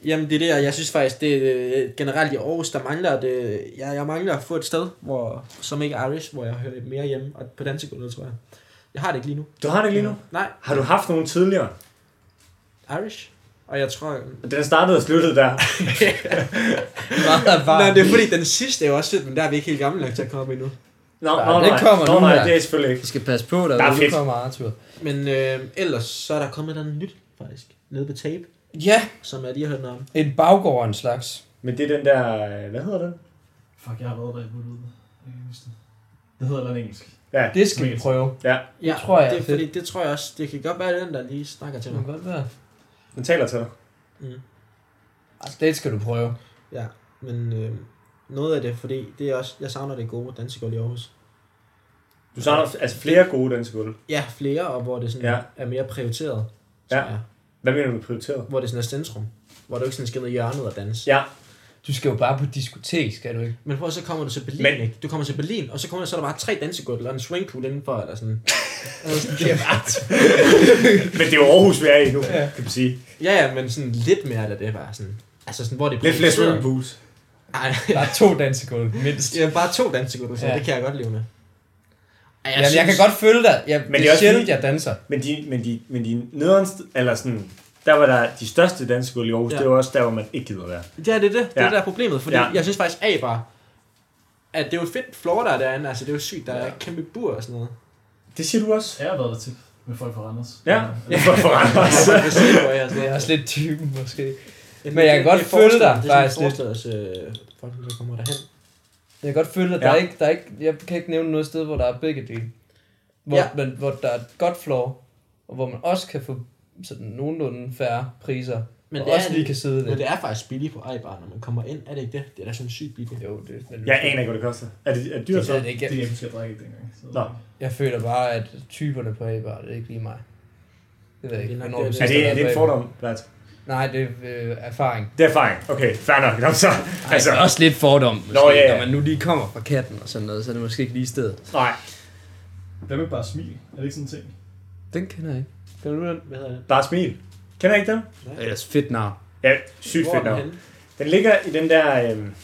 Speaker 3: Jamen det er det, og jeg synes faktisk, det er øh, generelt i Aarhus, der mangler det. Jeg, jeg mangler at få et sted, hvor, som ikke er Irish, hvor jeg hører mere hjemme, og på dansegulvet, tror jeg. Jeg har det ikke lige nu. Øh,
Speaker 2: Du har det lige nu?
Speaker 3: Nej,
Speaker 2: Har du haft nogen tidligere?
Speaker 3: Irish. Og jeg tror...
Speaker 2: Den startede og sluttede der.
Speaker 1: Meget
Speaker 3: Nej,
Speaker 1: varmt.
Speaker 3: det er fordi, den sidste er jo også fedt, men der er vi ikke helt gamle nok til at komme op endnu.
Speaker 2: Nå,
Speaker 1: Ja,
Speaker 2: nå,
Speaker 1: det
Speaker 2: nej.
Speaker 1: kommer
Speaker 2: nå,
Speaker 1: nu
Speaker 2: nej,
Speaker 1: her.
Speaker 2: det er selvfølgelig ikke.
Speaker 1: Vi skal passe på, der,
Speaker 2: Der er
Speaker 1: der nu
Speaker 2: fedt.
Speaker 1: kommer Arthur.
Speaker 3: Men øh, ellers, så er der kommet noget nyt, faktisk. Nede på tape,
Speaker 1: Ja,
Speaker 3: som jeg lige har hørt noget om.
Speaker 1: en baggård af en slags.
Speaker 2: Men det er den der... øh, Hvad hedder den?
Speaker 4: Fuck, jeg har været der i Bullet. Jeg kan ikke huske det. Det hedder noget engelsk.
Speaker 2: Ja,
Speaker 1: Det skal vi prøve.
Speaker 3: Ja,
Speaker 1: tror jeg er
Speaker 3: det,
Speaker 1: fedt. Mm.
Speaker 3: fordi, det tror jeg også. Det kan godt være, det er den, der lige snakker til
Speaker 1: Det kan
Speaker 3: mig.
Speaker 1: godt være.
Speaker 2: den taler til dig.
Speaker 3: Mm.
Speaker 1: Altså, det skal du prøve.
Speaker 3: Ja, men øh, noget af det, fordi det er også, jeg savner det gode dansegulv i Aarhus.
Speaker 2: Du savner altså flere gode dansegulve.
Speaker 3: Ja, flere, og hvor det sådan
Speaker 2: Ja.
Speaker 3: ja. er mere prioriteret.
Speaker 2: Ja.
Speaker 3: tror jeg.
Speaker 2: Hvad mener du med prioriteret?
Speaker 3: Hvor det sådan er centrum. Hvor du ikke sådan skal ned i hjørnet og danse.
Speaker 2: Ja,
Speaker 1: Du skal jo bare på diskotek, skal du ikke?
Speaker 3: Men hvor så kommer du til Berlin,
Speaker 2: Men-
Speaker 3: men... ikke? Du kommer til Berlin, og så kommer der, så er der bare tre dansegulv og en swingpool indenfor, eller sådan. <laughs> Eller sådan, det er bare-
Speaker 2: men det er jo Aarhus, vi er i nu,
Speaker 1: Ja.
Speaker 2: kan man sige.
Speaker 3: ja, ja, men sådan lidt mere af det, bare sådan. Altså sådan, hvor det er
Speaker 2: Lidt flere
Speaker 3: prioriteret.
Speaker 2: swimmingpools.
Speaker 3: Ej,
Speaker 1: Der er to dansegulv, mindst.
Speaker 3: <laughs> ja, bare to dansegulv, så
Speaker 1: Ja.
Speaker 3: ja. det kan jeg godt leve med. Ej,
Speaker 1: Jamen, jeg kan godt følge dig. Jeg,
Speaker 2: Men
Speaker 1: men det
Speaker 2: det er
Speaker 1: er
Speaker 2: også
Speaker 1: sjældent,
Speaker 2: fordi-
Speaker 1: jeg danser.
Speaker 2: Men de, men de, men de nederen, eller sådan, der var der de største dansegulve i Aarhus, ja.
Speaker 3: Ja.
Speaker 2: det var også der, hvor man ikke gider være.
Speaker 3: Ja, det er det. Det er
Speaker 2: Ja.
Speaker 3: det, der er problemet. Fordi
Speaker 2: Ja.
Speaker 3: ja. jeg synes faktisk, A bare, at det er jo et fedt floor, der er derinde. Altså, det er jo sygt, der er et kæmpe bur og sådan
Speaker 2: <laughs>
Speaker 3: noget.
Speaker 2: Det siger du også.
Speaker 4: Jeg har været der til med folk fra Randers.
Speaker 2: Ja, ja. <laughs> for, for andre.
Speaker 3: Altså, det er
Speaker 1: Det er også lidt typen, måske.
Speaker 3: Men
Speaker 1: jeg kan godt følge dig, faktisk lidt.
Speaker 3: Det er sådan, øh, folk, der kommer derhen.
Speaker 1: Jeg kan godt følge dig. Der
Speaker 2: Ja.
Speaker 1: er ikke, der er ikke, jeg kan ikke nævne noget sted, hvor der er begge dele. Hvor, ja.
Speaker 3: Ja.
Speaker 1: men, hvor der er et godt floor, og hvor man også kan få sådan nogenlunde færre priser. Men
Speaker 3: Men
Speaker 1: og
Speaker 3: det, er,
Speaker 1: også lige kan sidde
Speaker 3: men
Speaker 1: lidt.
Speaker 3: det er faktisk billigt på A-bar, når man kommer ind. Er det ikke det? Det er da sådan sygt billigt.
Speaker 1: Jo, det er
Speaker 2: Jeg aner ikke, hvad det koster. Er det, er det dyrt
Speaker 1: det
Speaker 2: så?
Speaker 1: ved det ikke.
Speaker 4: Det
Speaker 1: Jeg,
Speaker 4: er måske, jeg drikke ikke dengang. Så.
Speaker 2: Nå.
Speaker 1: jeg føler bare, at typerne på A-bar, det er ikke lige mig. Det ved jeg
Speaker 3: Det er
Speaker 1: ikke.
Speaker 3: nok
Speaker 1: hvornår
Speaker 3: det,
Speaker 1: vi
Speaker 3: det
Speaker 2: Er
Speaker 1: sidst
Speaker 2: det,
Speaker 1: har
Speaker 2: er det
Speaker 1: været
Speaker 2: en
Speaker 1: på
Speaker 2: fordom? Bert?
Speaker 1: A-bar. Nej, det er øh, erfaring.
Speaker 2: Det er erfaring. Okay, fair nok. Nå, så,
Speaker 1: Ej,
Speaker 2: altså,
Speaker 1: altså, også lidt fordom, måske,
Speaker 2: Nå, ja, ja.
Speaker 1: når man nu lige kommer fra katten og sådan noget, så er det måske ikke lige stedet.
Speaker 2: nej.
Speaker 4: Hvad med bare smil? Er det ikke sådan en ting?
Speaker 1: Den kender jeg ikke. Kan du den?
Speaker 3: Hvad hedder den?
Speaker 2: Bare smil. Kender I ikke den?
Speaker 1: Ellers fedt navn.
Speaker 2: Ja, sygt
Speaker 3: Hvor er
Speaker 2: fedt
Speaker 3: den
Speaker 2: navn.
Speaker 3: henne?
Speaker 2: Den ligger i den der... Øhm,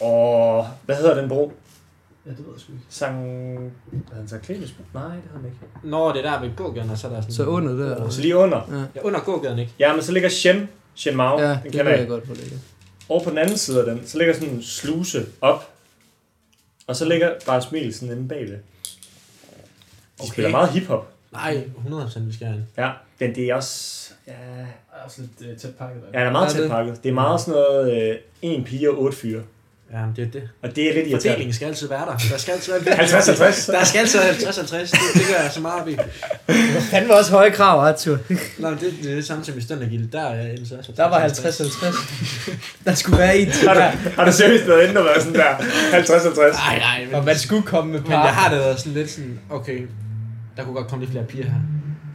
Speaker 2: åh, hvad hedder den bro?
Speaker 3: Ja, det ved jeg sgu ikke.
Speaker 2: Sang... Hvad hedder den? Sankt Clemens bro? Nej, det har den ikke.
Speaker 3: Nå, det er der ved gågaden, og så er der sådan...
Speaker 1: Så under der.
Speaker 2: Så lige under.
Speaker 3: Ja, under gågaden, ikke?
Speaker 2: Ja, men så ligger Shen. Shen Mao.
Speaker 1: Ja,
Speaker 2: Ja, den
Speaker 1: det
Speaker 2: kender
Speaker 1: ved
Speaker 2: jeg
Speaker 1: jeg
Speaker 2: ikke.
Speaker 1: godt, hvor det ligger.
Speaker 2: Og på den anden side af den, så ligger sådan en sluse op. Og så ligger bare smil sådan inde bag det. De
Speaker 3: Okay.
Speaker 2: okay. spiller meget hiphop.
Speaker 3: Nej, 100% vi skal have en.
Speaker 2: Ja, den det er også... Ja,
Speaker 4: er også lidt øh, tæt pakket.
Speaker 2: Ja, den er meget
Speaker 1: Er det?
Speaker 2: tæt pakket. Det er meget sådan noget øh, en pige og otte fyre.
Speaker 3: Ja, men det er det.
Speaker 2: Og det er lidt irriterende.
Speaker 3: Fordelingen skal altid være der. Der skal altid være en
Speaker 2: Altså- 50-50.
Speaker 3: Der skal altid være 50-50. Det, det gør jeg så meget op i.
Speaker 1: Han var også høje krav, Arthur.
Speaker 3: Nå, men det, det er det samme som i Støndergilde. Der er jeg ellers også.
Speaker 1: Der var 50-50. Der skulle være en til der.
Speaker 2: Har du seriøst været inde og været sådan der 50-50?
Speaker 3: Nej, nej, men,
Speaker 1: Og man skulle komme med
Speaker 3: men
Speaker 1: par.
Speaker 3: jeg har da været sådan lidt sådan, okay, der kunne godt komme lidt flere piger her.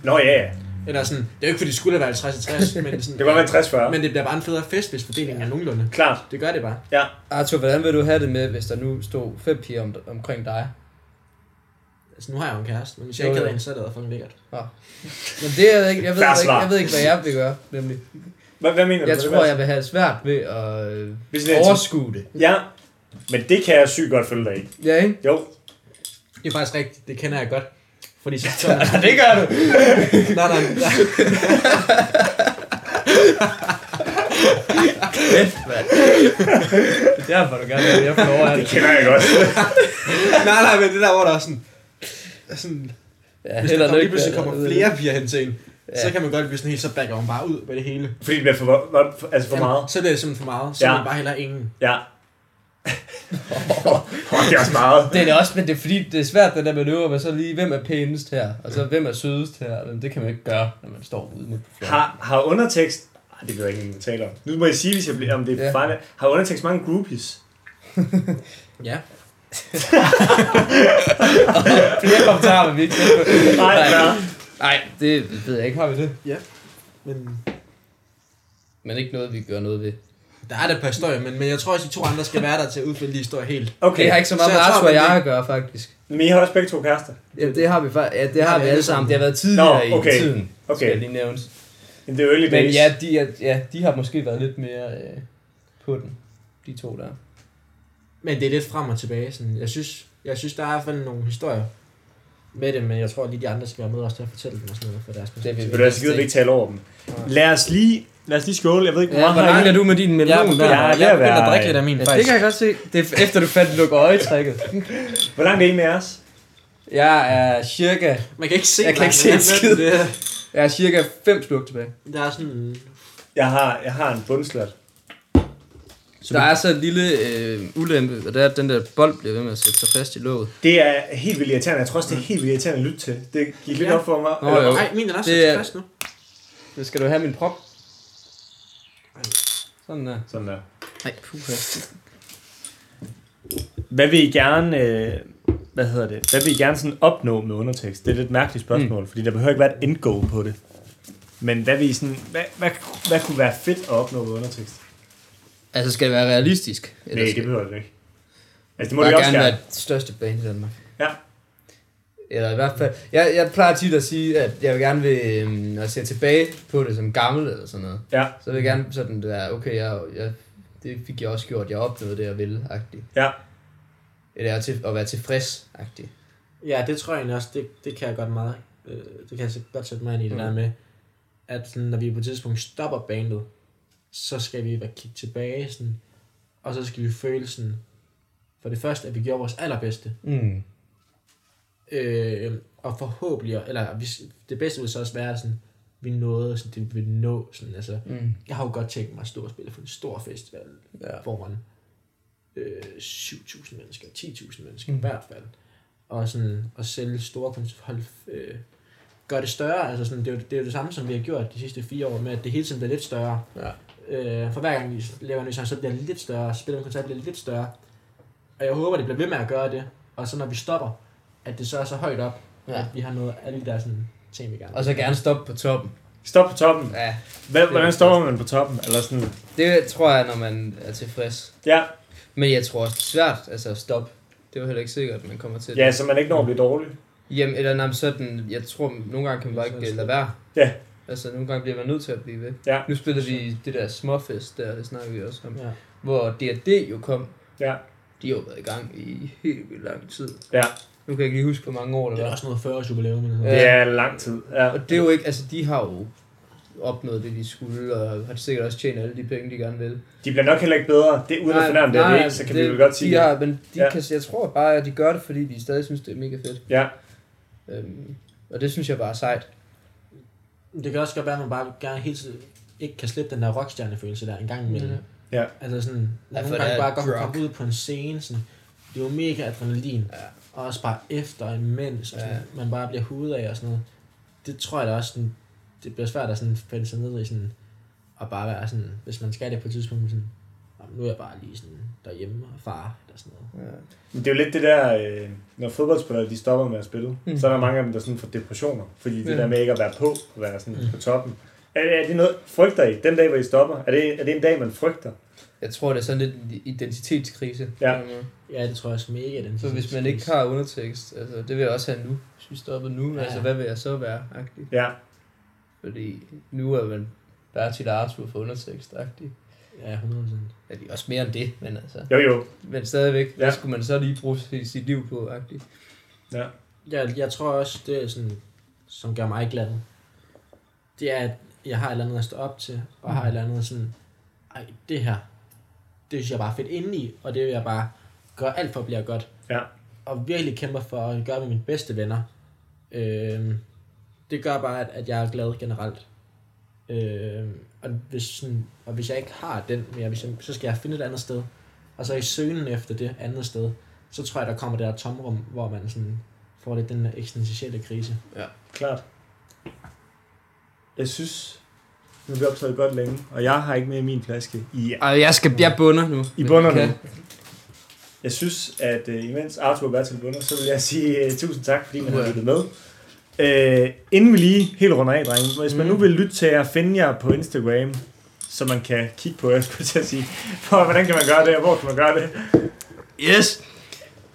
Speaker 2: Nå ja, ja.
Speaker 3: Eller sådan, det er jo ikke, fordi det skulle have været 50-60, men,
Speaker 2: <laughs>
Speaker 3: sådan,
Speaker 2: Det kan godt være 60-40.
Speaker 3: men det bliver bare en federe fest, hvis fordelingen er nogenlunde.
Speaker 2: Klart.
Speaker 3: Det gør det bare.
Speaker 1: Arthur, hvordan vil du have det med, hvis der nu stod fem piger om, omkring dig?
Speaker 3: Altså, nu har jeg jo en kæreste, men hvis jeg
Speaker 1: Jo,
Speaker 3: ikke havde
Speaker 1: jo.
Speaker 3: en, så havde det været fucking lækkert.
Speaker 1: Men det er jeg ikke. Jeg ved,
Speaker 2: Fair
Speaker 1: ikke,
Speaker 2: svar.
Speaker 1: jeg ved ikke, hvad jeg vil gøre, nemlig.
Speaker 2: Hvad, hvad mener du?
Speaker 1: Jeg
Speaker 2: med det?
Speaker 1: tror, jeg vil have svært ved at øh,
Speaker 2: Hvis det er-
Speaker 1: overskue det.
Speaker 2: Ja, men det kan jeg sygt godt følge dig i.
Speaker 1: Ja, ikke?
Speaker 2: Jo.
Speaker 3: Det er faktisk rigtigt, det kender jeg godt. Fordi så
Speaker 1: det gør du.
Speaker 3: nej, nej, nej.
Speaker 1: Kæft, mand. Det er derfor, du gerne vil. Jeg får lov at
Speaker 2: Det kender jeg godt.
Speaker 3: nej, nej, men det der, hvor der er sådan... sådan
Speaker 1: Ja,
Speaker 3: hvis der
Speaker 1: heller
Speaker 3: kommer, lige
Speaker 1: ikke. øh,
Speaker 3: pludselig kommer flere piger hen til en,
Speaker 1: Ja.
Speaker 3: så kan man godt blive sådan helt, så backer hun bare ud med det hele.
Speaker 2: Fordi det bliver for, vo- vo- for, altså for meget.
Speaker 3: Jamen, så bliver det simpelthen for meget. Så
Speaker 2: Ja.
Speaker 3: ja. man bare heller ingen.
Speaker 2: Ja. Åh, det er også meget.
Speaker 1: Det er også, men det er fordi, det er svært den der manøvre med så lige, hvem er pænest her, og så hvem er sødest her. Men det kan man jo ikke gøre, når man står ude midt på floor.
Speaker 2: Har, har undertekst... Ej, det vil jeg ikke engang tale om. Nu må jeg sige, hvis jeg bliver, om det er
Speaker 1: Ja.
Speaker 2: ja. fejl. Har undertekst mange groupies?
Speaker 3: Ja.
Speaker 1: Flere kommentarer, men vi ikke tænker på.
Speaker 2: Nej, nej.
Speaker 1: Nej, det ved jeg ikke, har vi det.
Speaker 3: Men
Speaker 1: Men ikke noget, vi gør noget ved.
Speaker 3: der er der et par historier, men, men jeg tror også, de to andre skal være der til at udfylde de historier helt.
Speaker 2: Okay.
Speaker 1: Det har ikke så meget
Speaker 3: Så
Speaker 1: med
Speaker 3: jeg tror,
Speaker 1: Arthur og
Speaker 3: man
Speaker 1: jeg
Speaker 3: lige-
Speaker 1: at gøre, faktisk.
Speaker 2: Men I har også begge to kærester.
Speaker 1: Ja, det har vi, fa- ja, det har vi alle sammen. Det har været tidligere
Speaker 2: Nå,
Speaker 1: i
Speaker 2: okay.
Speaker 1: tiden, skal jeg
Speaker 2: Okay.
Speaker 1: lige nævnes.
Speaker 2: Men det er jo early
Speaker 1: Men
Speaker 2: days.
Speaker 1: ja, de, er, ja, de har måske været lidt mere øh, på den, de to der.
Speaker 3: Men det er lidt frem og tilbage. Sådan. Jeg, synes, jeg synes, der er i hvert fald nogle historier med det, men jeg tror lige, de andre skal være med os til at fortælle dem og sådan noget for deres
Speaker 1: Det vil
Speaker 2: Ved du, jeg gider vi ikke tale over dem. Lad os lige, lad os lige skåle. Jeg ved ikke, hvor
Speaker 1: Ja,
Speaker 2: meget
Speaker 1: hvor
Speaker 2: har
Speaker 1: langt
Speaker 2: I-
Speaker 1: er du med din melon
Speaker 3: Jeg
Speaker 1: der?
Speaker 3: er begyndt,
Speaker 2: Ja,
Speaker 3: jeg,
Speaker 2: det er
Speaker 3: jeg er begyndt at
Speaker 2: værd.
Speaker 3: drikke lidt af min,
Speaker 1: Ja, det
Speaker 3: faktisk.
Speaker 1: kan jeg godt se. Det er efter du fandt lukke øjetrækket.
Speaker 2: Hvor langt er I med jeres?
Speaker 1: Jeg er cirka,
Speaker 3: Man kan ikke se
Speaker 1: Jeg kan
Speaker 3: mig,
Speaker 1: ikke se
Speaker 3: men
Speaker 1: en skid.
Speaker 3: Det, er-
Speaker 1: jeg er cirka fem sluk tilbage.
Speaker 3: der er sådan...
Speaker 2: Jeg har, jeg har en bundslat.
Speaker 1: Så der er så en lille øh, ulempe, og det er, at den der bold bliver ved med at sætte sig fast i låget.
Speaker 2: Det er helt vildt irriterende. Jeg tror også, det er helt vildt irriterende at lytte til. Det gik lidt
Speaker 3: Ja.
Speaker 2: op for mig.
Speaker 1: Mm. Nå,
Speaker 2: Eller-
Speaker 1: jo.
Speaker 3: Nej, min er også
Speaker 1: Det
Speaker 3: det,
Speaker 1: er-
Speaker 3: fast nu.
Speaker 1: Så skal du have min prop. Sådan der.
Speaker 2: Sådan der.
Speaker 1: Nej, puha.
Speaker 2: Hvad vil I gerne... Øh, hvad hedder det? Hvad vil I gerne sådan opnå med undertekst? Det er et lidt mærkeligt spørgsmål, mm. fordi der behøver ikke være et end goal på det. Men hvad, vil I sådan, hvad, hvad, hvad kunne være fedt at opnå med undertekst?
Speaker 1: Altså, skal det være realistisk?
Speaker 2: Nej, det behøver det ikke. Altså, det må
Speaker 1: Bare
Speaker 2: det også
Speaker 1: gerne
Speaker 2: gerne.
Speaker 1: være det største band i Danmark.
Speaker 2: Ja.
Speaker 1: Eller i hvert fald, jeg, jeg plejer tit at sige, at jeg vil gerne vil, øhm, når jeg ser tilbage på det som gammel eller sådan noget,
Speaker 2: Ja.
Speaker 1: så vil jeg gerne sådan der, okay, jeg, jeg, det fik jeg også gjort, jeg opnåede det, jeg ville, agtigt.
Speaker 2: Ja.
Speaker 1: Eller at, til, at være tilfreds, agtigt.
Speaker 3: Ja, det tror jeg egentlig også, det, det kan jeg godt meget. Øh, det kan jeg så godt sætte mig ind i, det
Speaker 1: Mm.
Speaker 3: der med, at sådan, når vi på et tidspunkt stopper bandet, så skal vi være kigge tilbage, sådan, og så skal vi føle sådan, for det første, at vi gjorde vores allerbedste,
Speaker 1: Mm.
Speaker 3: øh, og forhåbentlig, eller vi, det bedste vil så også være sådan, vi nåede, sådan, det vi ville nå, sådan, altså,
Speaker 1: Mm.
Speaker 3: jeg har jo godt tænkt mig at stå og spille for en stor festival,
Speaker 1: Ja.
Speaker 3: foran øh, 7.000 mennesker, 10.000 mennesker
Speaker 1: Mm.
Speaker 3: mm. i hvert fald. Og sådan at sælge store koncerter, hold, øh, gør det større. Altså sådan, det, er jo, det er jo det samme, som vi har gjort de sidste fire år, med at det hele tiden bliver lidt større.
Speaker 1: Ja.
Speaker 3: Øh, for hver gang vi laver en ny sang, så bliver det lidt større, spiller en koncert bliver det lidt større. Og jeg håber, det bliver ved med at gøre det. Og så når vi stopper, at det så er så højt op,
Speaker 1: Ja.
Speaker 3: ja. at vi har nået alle de der sådan, ting, vi gerne
Speaker 1: Og så gerne stoppe på toppen.
Speaker 2: Stop på toppen.
Speaker 1: Ja.
Speaker 2: Hvad, hvordan står man på toppen? Eller sådan,
Speaker 1: Det tror jeg, når man er tilfreds.
Speaker 2: ja,
Speaker 1: Men jeg tror også, det er svært altså, at stoppe. Det er jo heller ikke sikkert, at man kommer til det.
Speaker 2: ja, så man ikke når at blive dårlig.
Speaker 1: Jamen, eller nej, men sådan, jeg tror, nogle gange kan man bare ikke øh, lade være.
Speaker 2: Ja.
Speaker 1: Altså, nogle gange bliver man nødt til at blive ved.
Speaker 2: Ja.
Speaker 1: Nu spiller vi det der småfest der, det snakker vi også om.
Speaker 3: Ja.
Speaker 1: Hvor D&D jo kom.
Speaker 2: Ja.
Speaker 1: De har jo været i gang i helt vildt lang tid.
Speaker 2: Ja.
Speaker 1: Nu kan jeg ikke lige huske, hvor mange år det
Speaker 3: Det er
Speaker 1: var.
Speaker 3: også noget 40 års jubilæum eller
Speaker 1: Ja.
Speaker 3: noget.
Speaker 2: Det er lang tid. Ja.
Speaker 1: Og det er jo ikke, altså de har jo opnået det, de skulle, og har sikkert også tjent alle de penge, de gerne vil.
Speaker 2: De bliver nok heller ikke bedre. Det er uden at fornærme det, er vi ikke, så kan vi vel godt sige
Speaker 1: de
Speaker 2: det.
Speaker 1: har, men de
Speaker 2: Ja.
Speaker 1: ja. kan, jeg tror bare, at de gør det, fordi de stadig synes, det er mega fedt.
Speaker 2: Ja.
Speaker 1: Øhm, og det synes jeg bare er sejt.
Speaker 3: Det kan også godt være, at man bare gerne helt tiden ikke kan slippe den der rockstjernefølelse der en gang imellem.
Speaker 1: Ja.
Speaker 2: Ja.
Speaker 3: Altså sådan,
Speaker 1: Mm-hmm. Ja, for
Speaker 3: nogle
Speaker 1: det
Speaker 3: gange
Speaker 1: er
Speaker 3: bare godt
Speaker 1: drug.
Speaker 3: komme ud på en scene, sådan, det er jo mega adrenalin,
Speaker 1: Ja.
Speaker 3: og også bare efter imens, og sådan,
Speaker 1: Ja.
Speaker 3: man bare bliver hudet af og sådan noget. Det tror jeg da også, sådan, det bliver svært at sådan finde sig ned i sådan, og bare være sådan, hvis man skal det på et tidspunkt, sådan, "Nå, men nu er jeg bare lige sådan derhjemme og far, eller sådan noget.
Speaker 1: Ja.
Speaker 2: Men det er jo lidt det der, øh, når fodboldspillere de stopper med at spille, mm.
Speaker 1: Mm.
Speaker 2: så er der mange af dem, der sådan får depressioner, fordi det
Speaker 1: Ja.
Speaker 2: der med ikke at være på, at være sådan mm. på toppen. Er, er det noget, frygter I den dag, hvor I stopper? Er det, er det en dag, man frygter?
Speaker 1: Jeg tror, det er sådan lidt en identitetskrise.
Speaker 2: Ja.
Speaker 1: på en måde.
Speaker 3: Ja, det tror jeg også mega den.
Speaker 1: Så hvis man ikke har undertekst, altså det vil jeg også have nu. Hvis vi stoppede nu,
Speaker 3: Ja.
Speaker 1: ja. altså hvad vil jeg så være? Agtigt.
Speaker 2: Ja,
Speaker 1: Fordi nu er man bare til Arthur for undertekst. Agtigt.
Speaker 3: Ja, 100%.
Speaker 1: Ja, det er også mere end det, men altså.
Speaker 2: jo jo.
Speaker 1: Men stadigvæk,
Speaker 2: Ja.
Speaker 1: ja. hvad skulle man så lige bruge sit, sit liv på? Agtigt.
Speaker 3: Jeg, jeg tror også, det er sådan, som gør mig glad. Det er, at jeg har et eller andet at stå op til, og har et eller andet sådan, ej, det her, det synes jeg bare er fedt indeni, og det vil jeg bare gøre alt for at blive godt.
Speaker 2: Ja.
Speaker 3: Og virkelig kæmper for at gøre med mine bedste venner. Øhm, det gør bare, at, at jeg er glad generelt. Øhm, og, hvis sådan, og hvis jeg ikke har den mere, hvis jeg, så skal jeg finde et andet sted. Og så i søgen efter det andet sted, så tror jeg, der kommer det der tomrum, hvor man sådan får lidt den der eksistentielle krise.
Speaker 2: Klart. Jeg synes, nu er vi optaget godt længe, og jeg har ikke med i min flaske. I,
Speaker 1: Ej, jeg, skal, jeg bunder nu.
Speaker 2: I bunder nu. Jeg synes, at øh, imens Arthur var til bunder, så vil jeg sige øh, tusind tak, fordi man har
Speaker 1: Ja.
Speaker 2: lyttet med. Øh, inden vi lige helt runder af, drenge, hvis man nu vil lytte til jer, finde jer på Instagram, så man kan kigge på jer, <laughs> skulle jeg til at sige. For, hvordan kan man gøre det, og hvor kan man gøre det?
Speaker 1: Yes!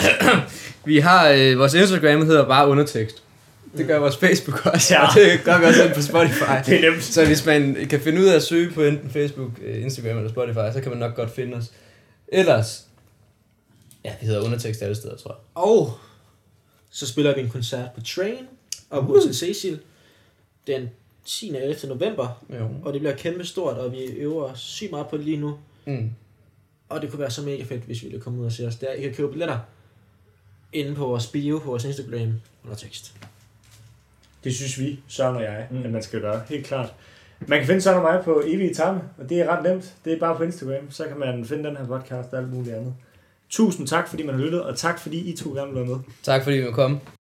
Speaker 1: <clears throat> vi har, øh, vores Instagram hedder bare undertekst. Det gør vores Facebook også,
Speaker 2: Ja.
Speaker 1: ja. og <laughs> det gør vi også ind på Spotify.
Speaker 2: Det er nemt.
Speaker 1: Så hvis man kan finde ud af at søge på enten Facebook, øh, Instagram eller Spotify, så kan man nok godt finde os. Ellers, ja, vi hedder undertekst alle steder, tror jeg.
Speaker 3: Og så spiller vi en koncert på Train og på uh. Cecil den 10. og 11. november.
Speaker 1: Jo.
Speaker 3: Og det bliver kæmpe stort, og vi øver os sygt meget på det lige nu.
Speaker 1: Mm.
Speaker 3: Og det kunne være så mega fedt, hvis vi ville komme ud og se os der. I kan købe billetter inde på vores bio, på vores Instagram under tekst.
Speaker 2: Det synes vi, Søren og jeg, mm.
Speaker 4: Mm.
Speaker 2: at man skal gøre. Helt klart. Man kan finde Søren og mig på Evig Etape, og det er ret nemt. Det er bare på Instagram, så kan man finde den her podcast og alt muligt andet. Tusind tak, fordi man har lyttet, og tak, fordi I to gerne vil være med.
Speaker 1: Tak fordi vi måtte komme.